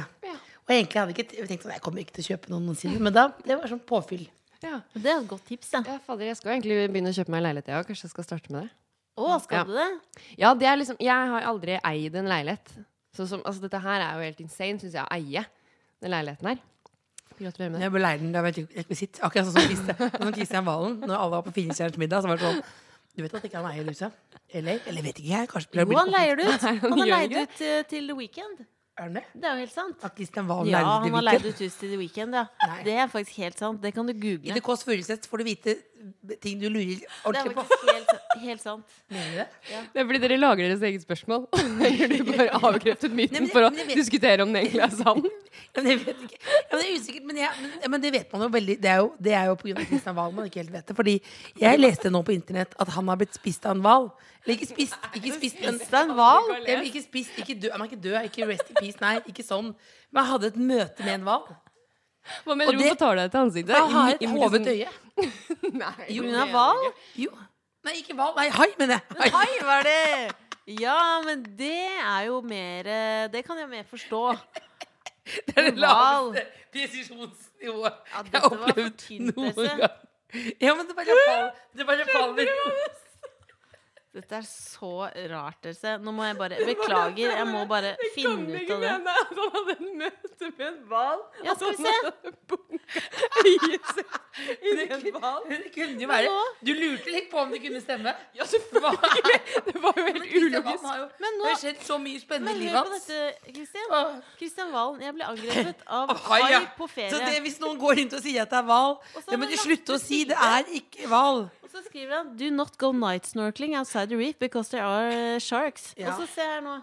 S3: Og egentlig hadde jeg ikke jeg tenkt sånn, jeg kommer ikke til å kjøpe noen noensinne. Men da, det var sånn påfyll.
S5: Ja.
S2: Men Det er et godt tips, da.
S5: ja, fader, jeg skal jo egentlig begynne å kjøpe meg en leilighet, jeg òg. Kanskje jeg skal starte med det.
S2: Å, skal
S5: Ja.
S2: du det?
S5: Ja, det er liksom Jeg har aldri eid en leilighet. Så som, altså, dette her er jo helt insane, syns jeg, å eie den leiligheten her. Gratulerer med det.
S3: Jeg ble lei den da jeg var rekvisitt. Akkurat sånn som Christian, sånn som Christian Valen. Når alle var på Finestjerners middag, så var det sånn Du vet at ikke han eier huset? Eller? Eller vet ikke jeg. Kanskje ble
S2: Jo, han leier det ut. Han har
S5: gjør
S2: leid
S5: ikke
S2: ut eh, til The Weekend.
S3: Er han det?
S2: Det er jo helt sant.
S3: At Christian Valen
S2: Ja,
S3: leide
S2: han
S3: det
S2: har leid
S3: viket?
S2: ut hus til The Weekend, ja.
S3: Nei.
S2: Det er faktisk helt sant. Det kan du
S3: I
S2: google.
S3: The Kåss Furuseth får du vite ting du lurer
S2: Det er
S3: ordentlig på.
S2: faktisk helt, helt sant.
S3: Mener du det?
S5: Det er fordi dere lager deres eget spørsmål. Eller du bare avkreftet myten
S3: men det-
S5: for å
S3: men det vet-
S5: diskutere om det egentlig er sant.
S3: Ja, Men jeg vet ikke. Ja, men det er usikkert, men, jeg, men, ja, men det vet man jo veldig. Det er jo, det er jo på grunn av Kristian Wahl man ikke helt vet det. Fordi jeg leste nå på internett at han har blitt spist av en hval. Eller ikke spist, ikke spist, men
S2: Stein Wahl?
S3: Ja, men Ikke spist, ikke død, han er ikke død, ikke rest in peace, nei, ikke sånn. Men jeg hadde et møte med en hval.
S5: Hva mener
S3: Og
S5: du?
S3: det-
S5: Hvorfor tar du deg til ansiktet?
S3: Han har et
S5: I- i-
S3: hovet øye.
S5: Nei.
S2: På grunn av hval?
S3: Jo. Nei, ikke hval. Nei, hai, mener jeg. Hai.
S2: Hei, var det? Ja, men det er jo mer eh, Det kan jeg mer forstå.
S3: Det er det
S2: Hval.
S3: laveste presisjonsnivået
S2: Ja,
S3: jeg
S2: dette
S3: har
S2: var for
S3: opplevd
S2: tynt,
S3: noen
S2: Else.
S3: gang. Ja, men det bare faller. Det bare faller.
S2: Dette er så rart, Else. Nå må jeg bare Beklager, jeg må bare finne ut av det.
S5: at han hadde et møte med en hval.
S2: Ja, skal vi se.
S3: Det kunne, det kunne jo være Du lurte litt på om det kunne stemme.
S5: Ja, selvfølgelig! Det var jo helt ulogisk.
S2: Men nå-
S3: Men nå har jo skjedd så mye spennende
S2: Men
S3: i
S2: hør
S3: livet
S2: på
S3: hans.
S2: dette, Kristian.
S3: Åh.
S2: Kristian Valen, jeg ble angrepet av
S3: Av hai,
S2: hai
S3: ja.
S2: på
S3: Så det,
S2: ferie.
S3: hvis noen går rundt og sier at det er hval,
S2: så
S3: det
S2: har
S3: må
S2: man
S3: de
S2: lagt
S3: slutte å
S2: til
S3: si.
S2: side.
S3: Det er ikke hval.
S2: Og så skriver han Do not go night snorkeling outside the reef because there are eh, sharks.
S3: Ja.
S2: Og så ser jeg nå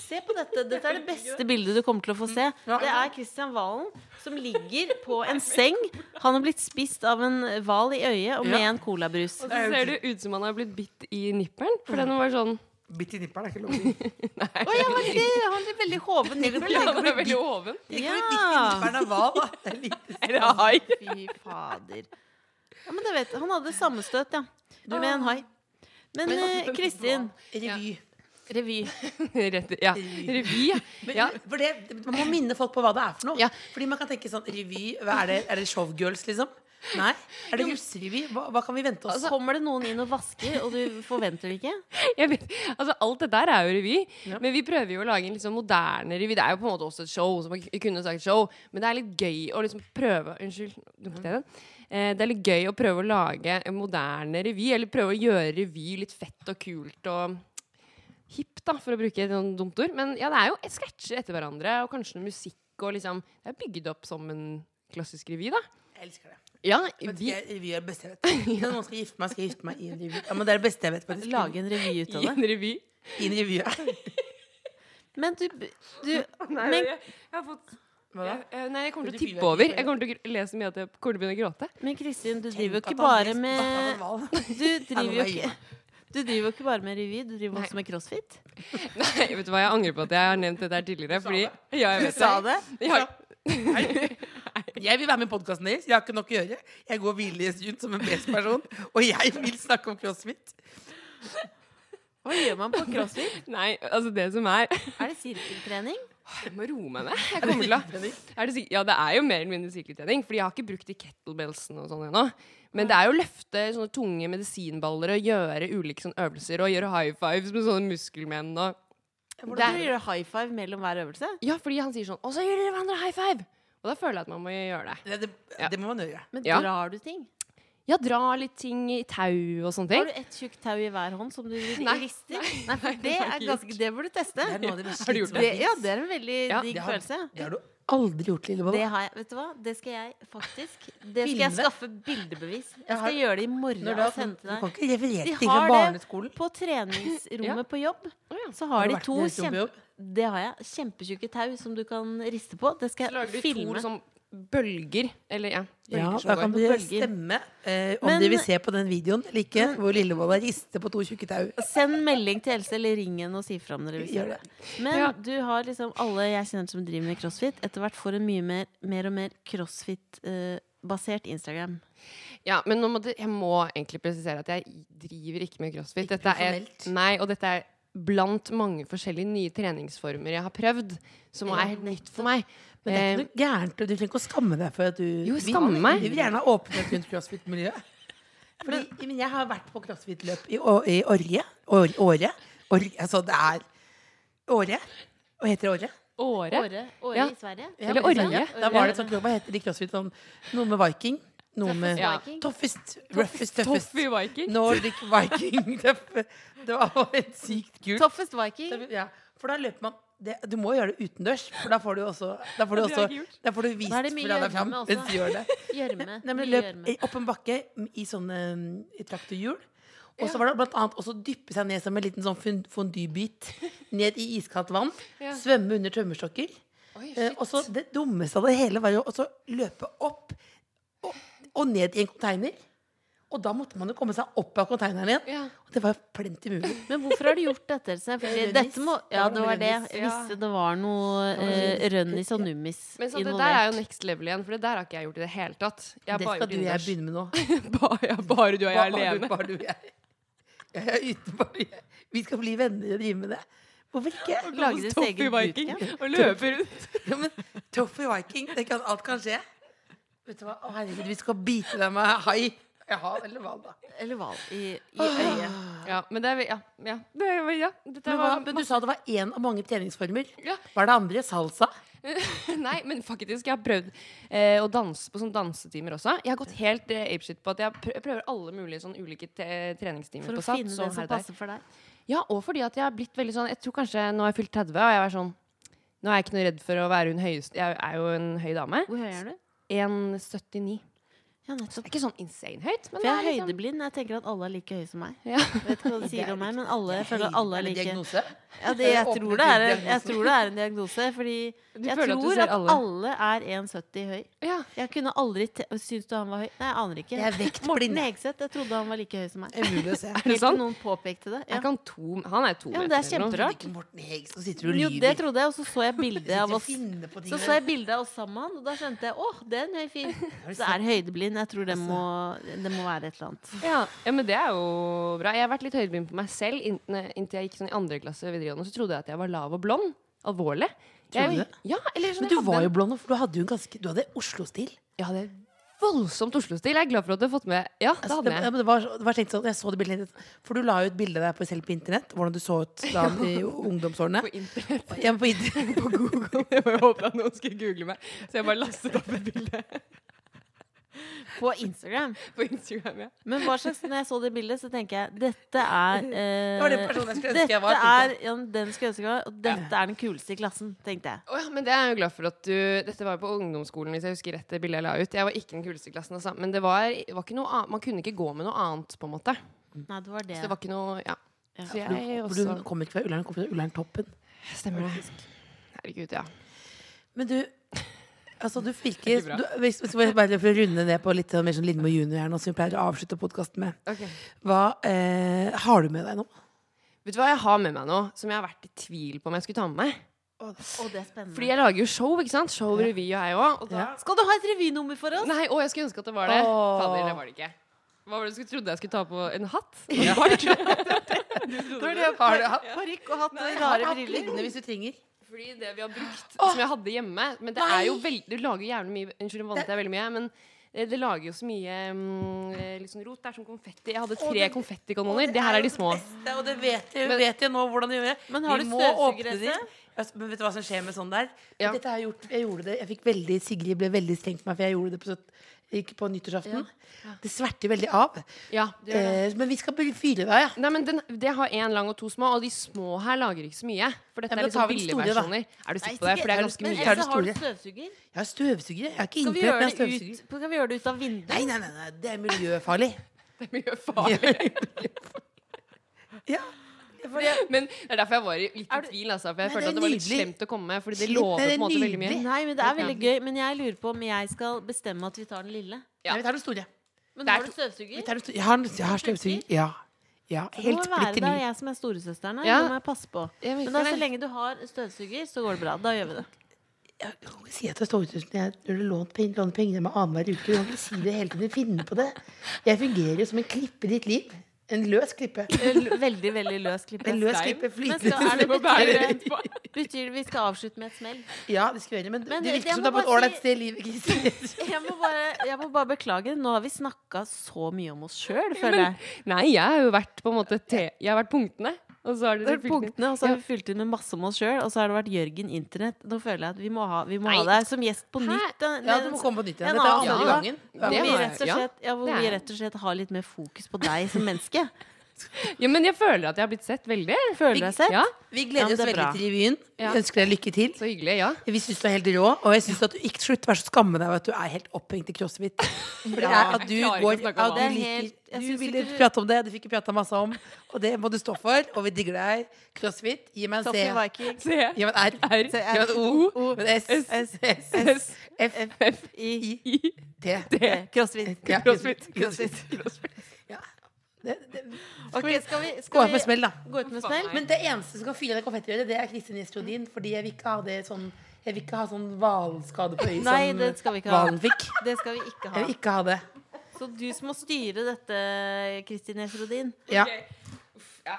S2: Se på dette. Dette er det beste bildet du kommer til å få se. Det er Kristian Valen som ligger på en seng. Han har blitt spist av en hval i øyet og med en colabrus.
S5: Så ser det ut som han har blitt bitt i nipperen. For den var sånn
S3: Bitt i nipperen er ikke lov.
S2: Å ja, men det han har en veldig hoven nippel.
S5: Han er veldig hoven.
S3: Ja.
S2: Ja.
S3: Nipperen er hval, da. Det er lite
S5: Er det hai?
S2: Fy fader. Ja, men det vet Han hadde sammenstøt, ja. Med en hai. Men eh, Kristin,
S3: revy.
S2: revy.
S5: Rett, ja. Revy, ja.
S3: Men,
S5: ja.
S3: for det, man må minne folk på hva det er for noe.
S5: Ja.
S3: Fordi man kan tenke sånn revy hva Er det, er det showgirls, liksom? Nei. Er det russerevy? Hva, hva kan vi vente oss?
S2: Kommer det noen inn og vasker, og du forventer det ikke?
S5: Jeg vet, altså alt dette her er jo revy, men vi prøver jo å lage en liksom moderne revy. Det er jo på en måte også et show, som man k- kunne sagt show, men det er litt gøy å liksom prøve Unnskyld, dumpet jeg den? Eh, det er litt gøy å prøve å lage en moderne revy, eller prøve å gjøre revy litt fett og kult og hipp, da, for å bruke et sånt dumt ord. Men ja, det er jo et sketsjer etter hverandre, og kanskje noe musikk og liksom Det er bygd opp som en klassisk revy, da.
S3: Jeg elsker det.
S5: Ja,
S3: Vet
S5: Ah, vi
S3: ikke, jeg- revy er det beste jeg vet. Når noen skal gifte meg, skal jeg gifte meg i en revy. Ja, men det er det beste jeg vet. faktisk.
S2: Lage en revy ut
S5: i
S2: av det.
S5: en revy.
S3: I en revy. ja.
S2: Men du, du men,
S5: jeg, har fått
S3: Hva da?
S5: Eh, Nei, jeg
S3: Du
S5: kommer til å
S3: blir
S5: tippe
S3: jo
S5: over.
S3: ikke
S5: Jeg kommer til å gr- le så mye at jeg kommer til å begynne å gråte.
S2: men Kristin, du driver jo
S3: Tenk
S2: ikke
S3: at han ble
S2: bare med
S3: spist av en hval.
S2: Du driver jo
S3: Nei, nå er
S2: ikke du driver jo ikke bare med revy, du driver også med crossfit.
S5: Nei, vet du hva, jeg angrer på at jeg har nevnt dette her tidligere. Fordi, ja, jeg vet
S2: det?
S5: Jeg har-
S3: Jeg vil være med i podkasten deres. Jeg har ikke nok å gjøre. Jeg går hvile i stund som en best-person, og jeg vil snakke om crossfit.
S2: Hva gjør man på crossfit?
S5: Nei, altså det som er
S2: Er det sirkeltrening?
S5: Jeg må roe meg ned. Jeg kommer til å er det, sik- Ja, det er jo mer eller mindre sirkeltrening, Fordi jeg har ikke brukt de kettlebellsene og sånn ennå. Men det er jo å løfte sånne tunge medisinballer og gjøre ulike sånne øvelser og gjøre high fives med sånne muskelmenn og
S2: Hvordan gjør du high five mellom hver øvelse?
S5: Ja, fordi han sier sånn Og så gjør dere hverandre high five! Og da føler jeg at man må gjøre det.
S3: Det, det,
S5: Ja.
S3: det må man gjøre.
S2: Men
S5: Ja.
S2: drar du ting?
S5: Ja, dra litt ting i tau og sånne ting.
S2: Har du ett tjukt tau i hver hånd som du
S5: Nei.
S2: rister? Nei, for det, er ganske, det bør du teste.
S3: Det er noe av det mest
S5: Har du gjort
S3: slitsomme.
S2: Det, ja, det er en veldig
S5: Ja,
S2: digg
S3: Det har-
S2: følelse.
S3: Det har du aldri gjort,
S2: Det
S3: Lillebolla.
S2: har jeg, vet du hva? Det skal jeg faktisk Det skal jeg
S3: Filme.
S2: skaffe bildebevis. Jeg
S3: har-
S2: skal gjøre det i morgen.
S3: Når du,
S2: og
S3: har,
S2: sende
S3: altså, du
S2: til deg.
S3: kan ikke referere
S2: De
S3: ting fra
S2: har det.
S3: barneskolen.
S2: På treningsrommet
S5: Ja.
S2: på jobb
S5: Å ja.
S2: så
S3: Har
S2: har
S3: du
S2: de
S3: vært
S2: to
S3: på treningsrom på
S2: kjempe,
S3: jobb?
S2: Det har jeg. Kjempetjukke tau som du kan riste på. Det skal
S5: Lager
S2: jeg
S5: du to
S2: filme.
S5: liksom, bølger, eller ja, bølger
S3: Ja,
S5: som
S3: da kan
S5: går.
S3: dere
S2: Bølger.
S3: stemme eh, om
S2: Men-
S3: dere vil se på den videoen eller ikke, hvor Lillebolla rister på to tjukke tau.
S2: Send melding til Else eller ring henne og si fra om dere vil se
S3: Gjør
S2: det.
S3: det.
S2: Men
S5: Ja.
S2: du har liksom alle jeg kjenner som driver med crossfit, etter hvert får en mye mer, mer og mer crossfit-basert Instagram.
S5: Ja, men nå må det, jeg må egentlig presisere at jeg driver ikke med crossfit. Dette er,
S3: profesjonelt.
S5: nei, og dette er blant mange forskjellige nye treningsformer jeg har prøvd, som er helt nytt for meg.
S3: Men det er ikke
S5: Eh,
S3: noe gærent. og Du trenger ikke å skamme deg for at du
S5: Jo,
S3: Vi-
S5: skamme meg.
S3: Vi vil gjerne ha åpenhet rundt crossfit-miljøet. Fordi, men jeg har vært på crossfit-løp i, Å- i Årje. År, åre. Årje, altså det er Åre. Hva heter Åre?
S5: åre.
S2: Åre, åre
S5: Ja.
S2: i Sverige.
S3: Ja,
S5: Eller
S3: i
S5: Årje.
S3: Sverige. Da var det sånn, hva heter de crossfit sånn Noe med viking. Noe med
S5: Ja.
S2: Viking.
S3: Toughest, roughest, toughest.
S5: Toffee Viking.
S3: Nordic viking. Tøffe. Det var helt sykt kult.
S2: Toughest Viking.
S3: Ja, for da løper man det, Du må gjøre det utendørs, for da får du også Da får du,
S5: Det har
S3: også,
S5: jeg ikke gjort.
S3: da får du vist
S2: Da er det mye
S3: fra deg fram.
S2: gjørme også.
S3: Mens du gjør det.
S2: Gjørme.
S3: Nei, men
S2: mye
S3: løp
S2: gjørme.
S3: opp en bakke i sånne mm, i traktorhjul. Og så var det blant annet også dyppe seg ned som en liten sånn fun- fondybit ned i iskaldt vann.
S5: Ja.
S3: Svømme under tømmerstokker.
S5: Oi,
S3: Eh,
S5: shit.
S3: og så det dummeste av det hele var jo også løpe opp og, og ned i en container. Og da måtte man jo komme seg opp av konteineren igjen.
S5: Ja.
S3: Og det var plenty mulig.
S2: Men hvorfor har du gjort dette? Else? Fordi
S3: Rønnis.
S2: dette må, ja, det var det. Jeg
S5: Ja.
S2: visste det var noe eh, rønnis og nummis
S5: Men så det der er jo
S2: involvert.
S5: next level igjen, for det der har ikke jeg gjort i det hele tatt. Jeg har
S3: Det
S5: bare
S3: skal du
S5: gjort
S3: og jeg
S5: innendørs.
S3: begynne med nå.
S5: Bare, ja, bare du og jeg
S3: Bare du,
S5: alene.
S3: Bare du og jeg. Jeg er ute, bare jeg. Vi skal bli venner og drive med det. Hvorfor ikke?
S2: Lager et
S5: Toffee
S2: eget
S5: Viking
S2: bootcamp.
S5: og løper rundt.
S3: Ja, men Toffee Viking, det kan, alt kan skje. Vet du hva? Å, herregud, vi skal bite deg med hai. Ja, eller hva da?
S2: Eller hva? I, i øyet.
S5: Ja, men det er Ja. ja. Det, er- ja. Dette
S3: Men, hva,
S5: var
S3: men du sa det var én av mange treningsformer.
S5: Ja.
S3: Hva er det andre? Salsa?
S5: Nei, men faktisk, jeg har prøvd eh, å danse på sånne dansetimer også. Jeg har gått helt eh, apeshit på at jeg prø- prøver alle mulige sånn ulike te- treningstimer
S2: For å
S5: på sats.
S2: finne det
S5: og her
S2: som
S5: og der.
S2: passer for deg.
S5: Ja, og fordi at jeg har blitt veldig sånn Jeg tror kanskje nå har jeg fylt 30, og jeg er sånn Nå er jeg ikke noe redd for å være hun høyeste Jeg er jo en høy dame.
S2: Hvor høy er du?
S5: 1,79.
S2: Ja,
S5: Det
S2: nettopp.
S5: er ikke sånn insane høyt, men
S2: For jeg
S5: det er
S2: er
S5: liksom
S2: høydeblind. Jeg tenker at alle er like høye som meg.
S5: ja.
S2: Jeg vet ikke hva de sier om meg, men alle, jeg føler at alle
S3: Er
S2: er
S3: det
S2: like
S3: diagnose?
S2: ja, det, jeg,
S3: Åpner
S2: tror det er,
S3: diagnosen.
S2: jeg tror det er en diagnose, fordi
S5: Du
S2: jeg
S5: føler at du
S2: tror
S5: ser
S2: at
S5: alle.
S2: alle er 1,70 høy.
S5: ja.
S2: Jeg kunne aldri te Syns du han var høy? Nei, jeg aner ikke.
S3: Jeg er vektblind,
S2: Morten
S3: jeg.
S2: Hegseth, jeg trodde han var like høy som meg.
S3: Umulig å se.
S5: Er det
S2: Helt til
S5: sant?
S2: noen påpekte det. Ja.
S5: Jeg kan to, han er to
S2: Ja, men det er
S5: meter eller noe.
S2: kjemperart.
S3: Ikke Morten Hegg, så sitter du og
S2: Jo, det
S3: lyver.
S2: trodde jeg, og så så jeg bildet
S3: Sitter
S2: av
S3: og
S2: oss.
S3: finner på ting.
S2: Så så jeg bildet av oss sammen, og da skjønte jeg åh, det er en høy fyr. Så det er høydeblind. Jeg tror det
S3: Altså.
S2: må, det må være et eller annet.
S5: Ja, ja, men det er jo bra. Jeg har vært litt høydeblind på meg selv inn- ne- inntil jeg gikk sånn i andre klasse videregående. Så trodde jeg at jeg var lav og blond. Alvorlig.
S3: Tror du
S5: Jeg-
S3: det?
S5: Ja, eller sånn
S3: Men du
S5: jeg hadde
S3: var
S5: en-
S3: jo blond, for du hadde jo en ganske Du hadde Oslo-stil.
S5: Jeg hadde voldsomt Oslo-stil. Jeg er glad for at du har fått med Ja, det
S3: Altså,
S5: hadde
S3: det, ja,
S5: jeg.
S3: men det var, det var tenkt sånn, jeg så det bildet litt, For du la jo et bilde der på selv på internett Hvordan du så ut da i ungdomsårene
S5: På internett.
S3: Ja, men på internett
S5: på Google. Jeg bare håpet at noen skulle google meg. Så jeg bare lastet opp et bilde
S2: På Instagram.
S5: på Instagram. Ja.
S2: Men hva slags, når jeg så det bildet, så tenker jeg dette er eh,
S3: Det var den personen jeg skulle ønske jeg var,
S2: Dette
S3: tenkte
S2: er ja, den skulle jeg ønske jeg var, og dette er den kuleste i klassen, tenkte jeg.
S5: Å ja, men det er jeg jo glad for at du Dette var jo på ungdomsskolen, hvis jeg husker rett. det bildet jeg la ut Jeg var ikke den kuleste i klassen, altså. Men det var, var ikke noe annet, man kunne ikke gå med noe annet, på en måte.
S2: Nei, det var det.
S5: Så det var ikke noe Ja.
S2: Ja.
S5: Så jeg
S3: For
S5: også
S3: du kom ikke fra Ullern, du kom fra Ullern-toppen
S5: Stemmer det. Herregud, ja.
S3: Men du Altså, du virkelig
S5: bra.
S3: du, hvis, hvis, jeg Bare for å runde ned på litt sånn mer sånn Lindmo Junior her nå Som vi pleier å avslutte podcasten med Hva eh, har du med deg nå?
S5: Vet du hva jeg har med meg nå, som jeg har vært i tvil på om jeg skulle ta med meg?
S2: Å, det er spennende.
S5: Fordi jeg lager jo show, ikke sant? Show, revy og jeg òg. Og da
S3: Ja.
S2: Skal du ha et revynummer for oss?
S5: Nei, å, jeg skulle ønske at det var det.
S3: Åh.
S5: Fader, det var det ikke. Hva var det du skulle trodde jeg skulle ta på? En hatt? En bart?
S3: Har du hatt
S2: Parykk og hatt og
S3: Har du
S2: rare
S3: hatt
S2: briller.
S3: liggende hvis du trenger?
S5: Fordi det vi har brukt, som jeg hadde hjemme Men det er jo veldig Du lager jo jævlig mye Unnskyld, nå vannet jeg veldig mye. Men eh, det lager jo så mye mm, eh, litt sånn rot. Det er som konfetti. Jeg hadde
S3: Å,
S5: tre
S3: det-
S5: konfettikanoner.
S3: Å,
S5: Det her
S3: jo
S5: er de små.
S3: beste, og det vet jeg,
S5: Men-
S3: vet jeg nå hvordan de gjør det.
S2: Men har
S3: Vi
S2: du
S3: må
S2: støvsugerette?
S3: åpne de. Ja, s- Men vet du hva som skjer med sånn der?
S5: Ja.
S3: Dette har jeg gjort. Jeg gjorde det. Jeg fikk veldig, Sigrid ble veldig strengt på meg, for jeg gjorde det på, søt- gikk på nyttårsaften. Det sverter veldig av.
S5: Ja, det gjør det.
S3: Eh, men vi skal bare fyre i vei, ja.
S5: Nei, men den, Det har én lang og to små, og de små her lager ikke så mye.
S3: Ja,
S5: For dette
S3: men
S5: er
S3: da tar
S5: liksom
S3: vi den
S5: billige
S3: store, da.
S5: versjoner. Er du sikker på det? For det er ganske
S2: men
S5: mye.
S3: Tar du
S2: Else, Altså, har du
S3: store?
S2: støvsuger?
S3: Jeg har støvsugere. Jeg har ikke
S2: Skal vi,
S3: innført,
S2: gjøre
S3: men jeg har
S2: det
S3: støvsuger.
S2: ut, skal vi gjøre det ut av vinduet?
S3: Nei, nei, nei, nei, det er miljøfarlig.
S5: Det er miljøfarlig.
S3: ja. For det,
S5: Men det er derfor jeg var i litt i
S2: Er du-
S5: tvil. Altså, for jeg
S3: Nei,
S5: følte
S3: det er
S5: at det var litt
S3: nydelig.
S5: slemt å komme med, fordi det
S3: Slipp,
S5: lovet
S3: det
S5: på
S3: er
S5: en måte veldig mye.
S3: nydelig.
S2: Nei, men det er veldig gøy. Men jeg lurer på om jeg skal bestemme at vi tar den lille.
S5: Ja.
S3: Nei, vi tar det store.
S2: Men
S5: Det er
S2: har du
S3: Vi
S2: støvsuger?
S3: tar det store. Jeg har, jeg har støvsuger. Ja. ja.
S2: Det må
S3: Helt
S2: være
S3: splitter
S2: det
S3: ny.
S2: er jeg som er storesøsteren her.
S5: Ja.
S2: Det må jeg passe på.
S5: Jeg
S2: Men
S5: merker
S2: da,
S5: det.
S2: så lenge du har støvsuger, så går det bra. Da gjør vi det.
S3: Jeg kan ikke si at jeg står uten jeg når du låner penger, låner pengene med annenhver uke. Du kan ikke si det hele tiden. Finne på det. Jeg fungerer jo som en klippe i ditt liv. En løs klippe.
S2: Veldig, veldig løs klippe.
S3: En løs
S2: Stein.
S3: klippe,
S2: Men
S3: flytende
S2: skal, er det
S5: Må bære
S2: betyr,
S5: det etterpå.
S2: det- betyr det vi skal avslutte med et smell?
S3: Ja, det skal vi gjøre. Men,
S2: Men
S3: det
S2: jeg
S3: virker
S2: må
S3: som du har fått
S2: bare
S3: ålreit
S2: si-
S3: sted i livet, Kristin.
S2: Jeg må bare, jeg må bare beklage. Nå har vi snakka så mye om oss sjøl, føler jeg.
S5: Nei, jeg har jo vært på en måte te... Jeg har vært punktene. Og så har
S2: Det
S5: dere
S2: er
S5: punktene.
S2: punktene, og så har vi fylt inn med masse om oss sjøl. Og så har det vært Jørgen Internett. Nå føler jeg at vi må ha, vi må ha
S5: Nei.
S2: deg som gjest på
S5: Hæ?
S2: nytt. da.
S3: Ja, du må komme på nytt igjen.
S2: En
S3: Dette er
S2: annen
S3: andre
S5: gang.
S3: gangen.
S2: Hvor
S5: Det
S2: vi
S5: har jeg,
S2: rett og
S5: ja.
S2: slett, ja, hvor
S5: Det
S2: vi
S5: er-
S2: rett og slett har litt mer fokus på deg som menneske.
S5: Ja, men jeg føler at jeg har blitt sett veldig.
S2: Føler du deg sett?
S5: Ja,
S3: Vi
S2: Ja, men
S3: gleder
S2: det
S3: oss
S2: er
S3: veldig
S2: bra.
S3: til revyen. Vi
S5: Ja.
S3: ønsker deg lykke til.
S5: så hyggelig. Ja.
S3: Vi syns du er helt rå, og jeg syns at du ikke slutt vær så skamme deg over at du er helt opphengt i crossfit. For det er at du
S5: Jeg klarer ikke å
S3: går
S5: snakke
S3: at
S5: om
S3: du,
S2: det. Det er
S3: liker,
S2: helt- jeg
S3: du
S2: syns
S3: ville
S2: ikke du-
S3: prate om det, du fikk ikke prata masse om, og det må du stå for. Og vi digger deg. Crossfit, gi meg en
S2: Toffee
S3: C.
S2: Vikings.
S5: Se.
S3: Gi meg en R.
S5: R.
S3: Gi meg en O.
S2: O.
S3: Gi meg en S.
S2: S.
S3: S.
S5: S.
S3: F.
S5: F.
S2: I
S3: I.
S5: I.
S3: T.
S5: D.
S2: crossfit.
S3: Ja.
S5: Crossfit.
S3: Crossfit. Ja. Det, det.
S2: Ok, skal vi,
S3: Gå
S2: skal
S3: ut
S2: vi
S3: med smell, da.
S2: gå ut med smell?
S3: Men det eneste som kan fylle det konfettiøret, det er Kristin Gjestrodin. Fordi jeg vil ikke ha det sånn Jeg vil ikke ha sånn hvalskade på øyet
S2: Nei,
S3: som
S2: det skal vi ikke ha.
S3: hvalen fikk.
S2: Det skal vi ikke
S3: Jeg
S2: ha.
S3: vil ikke ha det.
S2: Så du som må styre dette, Kristin Efrodin.
S3: Ja.
S5: Jeg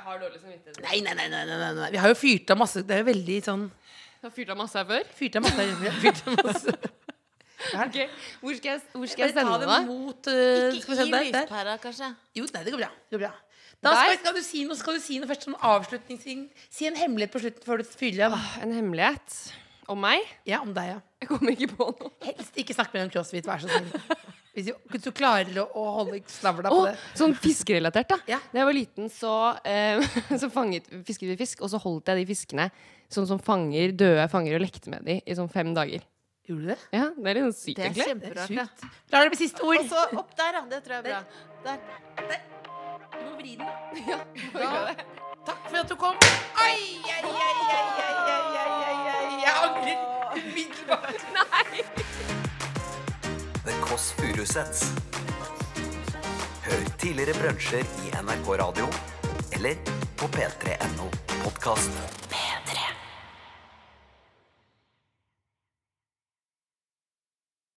S5: har dårlig samvittighet.
S3: Nei, nei, nei, nei, nei, nei, nei. Vi har jo fyrt av masse Det er jo veldig sånn
S5: Jeg har fyrt av masse her før.
S3: Fyrt av masse. Vi har fyrt av masse.
S5: Ok, Hvor skal jeg, hvor skal
S3: Bare
S5: jeg
S3: ta
S5: sende
S3: det
S5: det?
S3: mot eh,
S2: Ikke
S3: Skal vi se
S2: i
S3: der, der.
S2: lyspæra, kanskje?
S3: Jo, nei, det går bra. Det går bra. Da skal,
S5: Der.
S3: skal, du si noe, skal du si noe først som avslutningsting? Si en hemmelighet på slutten før du fyller av.
S5: En hemmelighet Ah, om meg?
S3: Ja, om deg, ja.
S5: Jeg kommer ikke på noe.
S3: Helst ikke snakk mer om crossfit, vær så snill. Hvis du, hvis du klarer å, å holde snavla på
S5: Å,
S3: det.
S5: sånn fiskerelatert, da.
S3: Ja.
S5: Da jeg var liten, så, eh, så fanget, fisket vi fisk, og så holdt jeg de fiskene sånn som fanger, døde fanger, og lekte med de i sånn fem dager.
S3: Gjorde du det?
S5: Ja, Det er litt sånn sykt,
S2: Det er
S5: egentlig.
S3: Det er
S2: kjemperart. ja.
S3: sjukt. Lar det bli siste ord.
S2: Og så opp der, da. Det tror jeg er bra. Der.
S3: Du må vri den, da.
S5: Ja.
S3: Takk for at du kom. Ai, ai, ai, ai, ai, ai, ai, ai, ai. Jeg angrer umiddelbart.
S1: The Kåss Furuseths. Hør tidligere brunsjer i NRK Radio eller på p3.no podkast.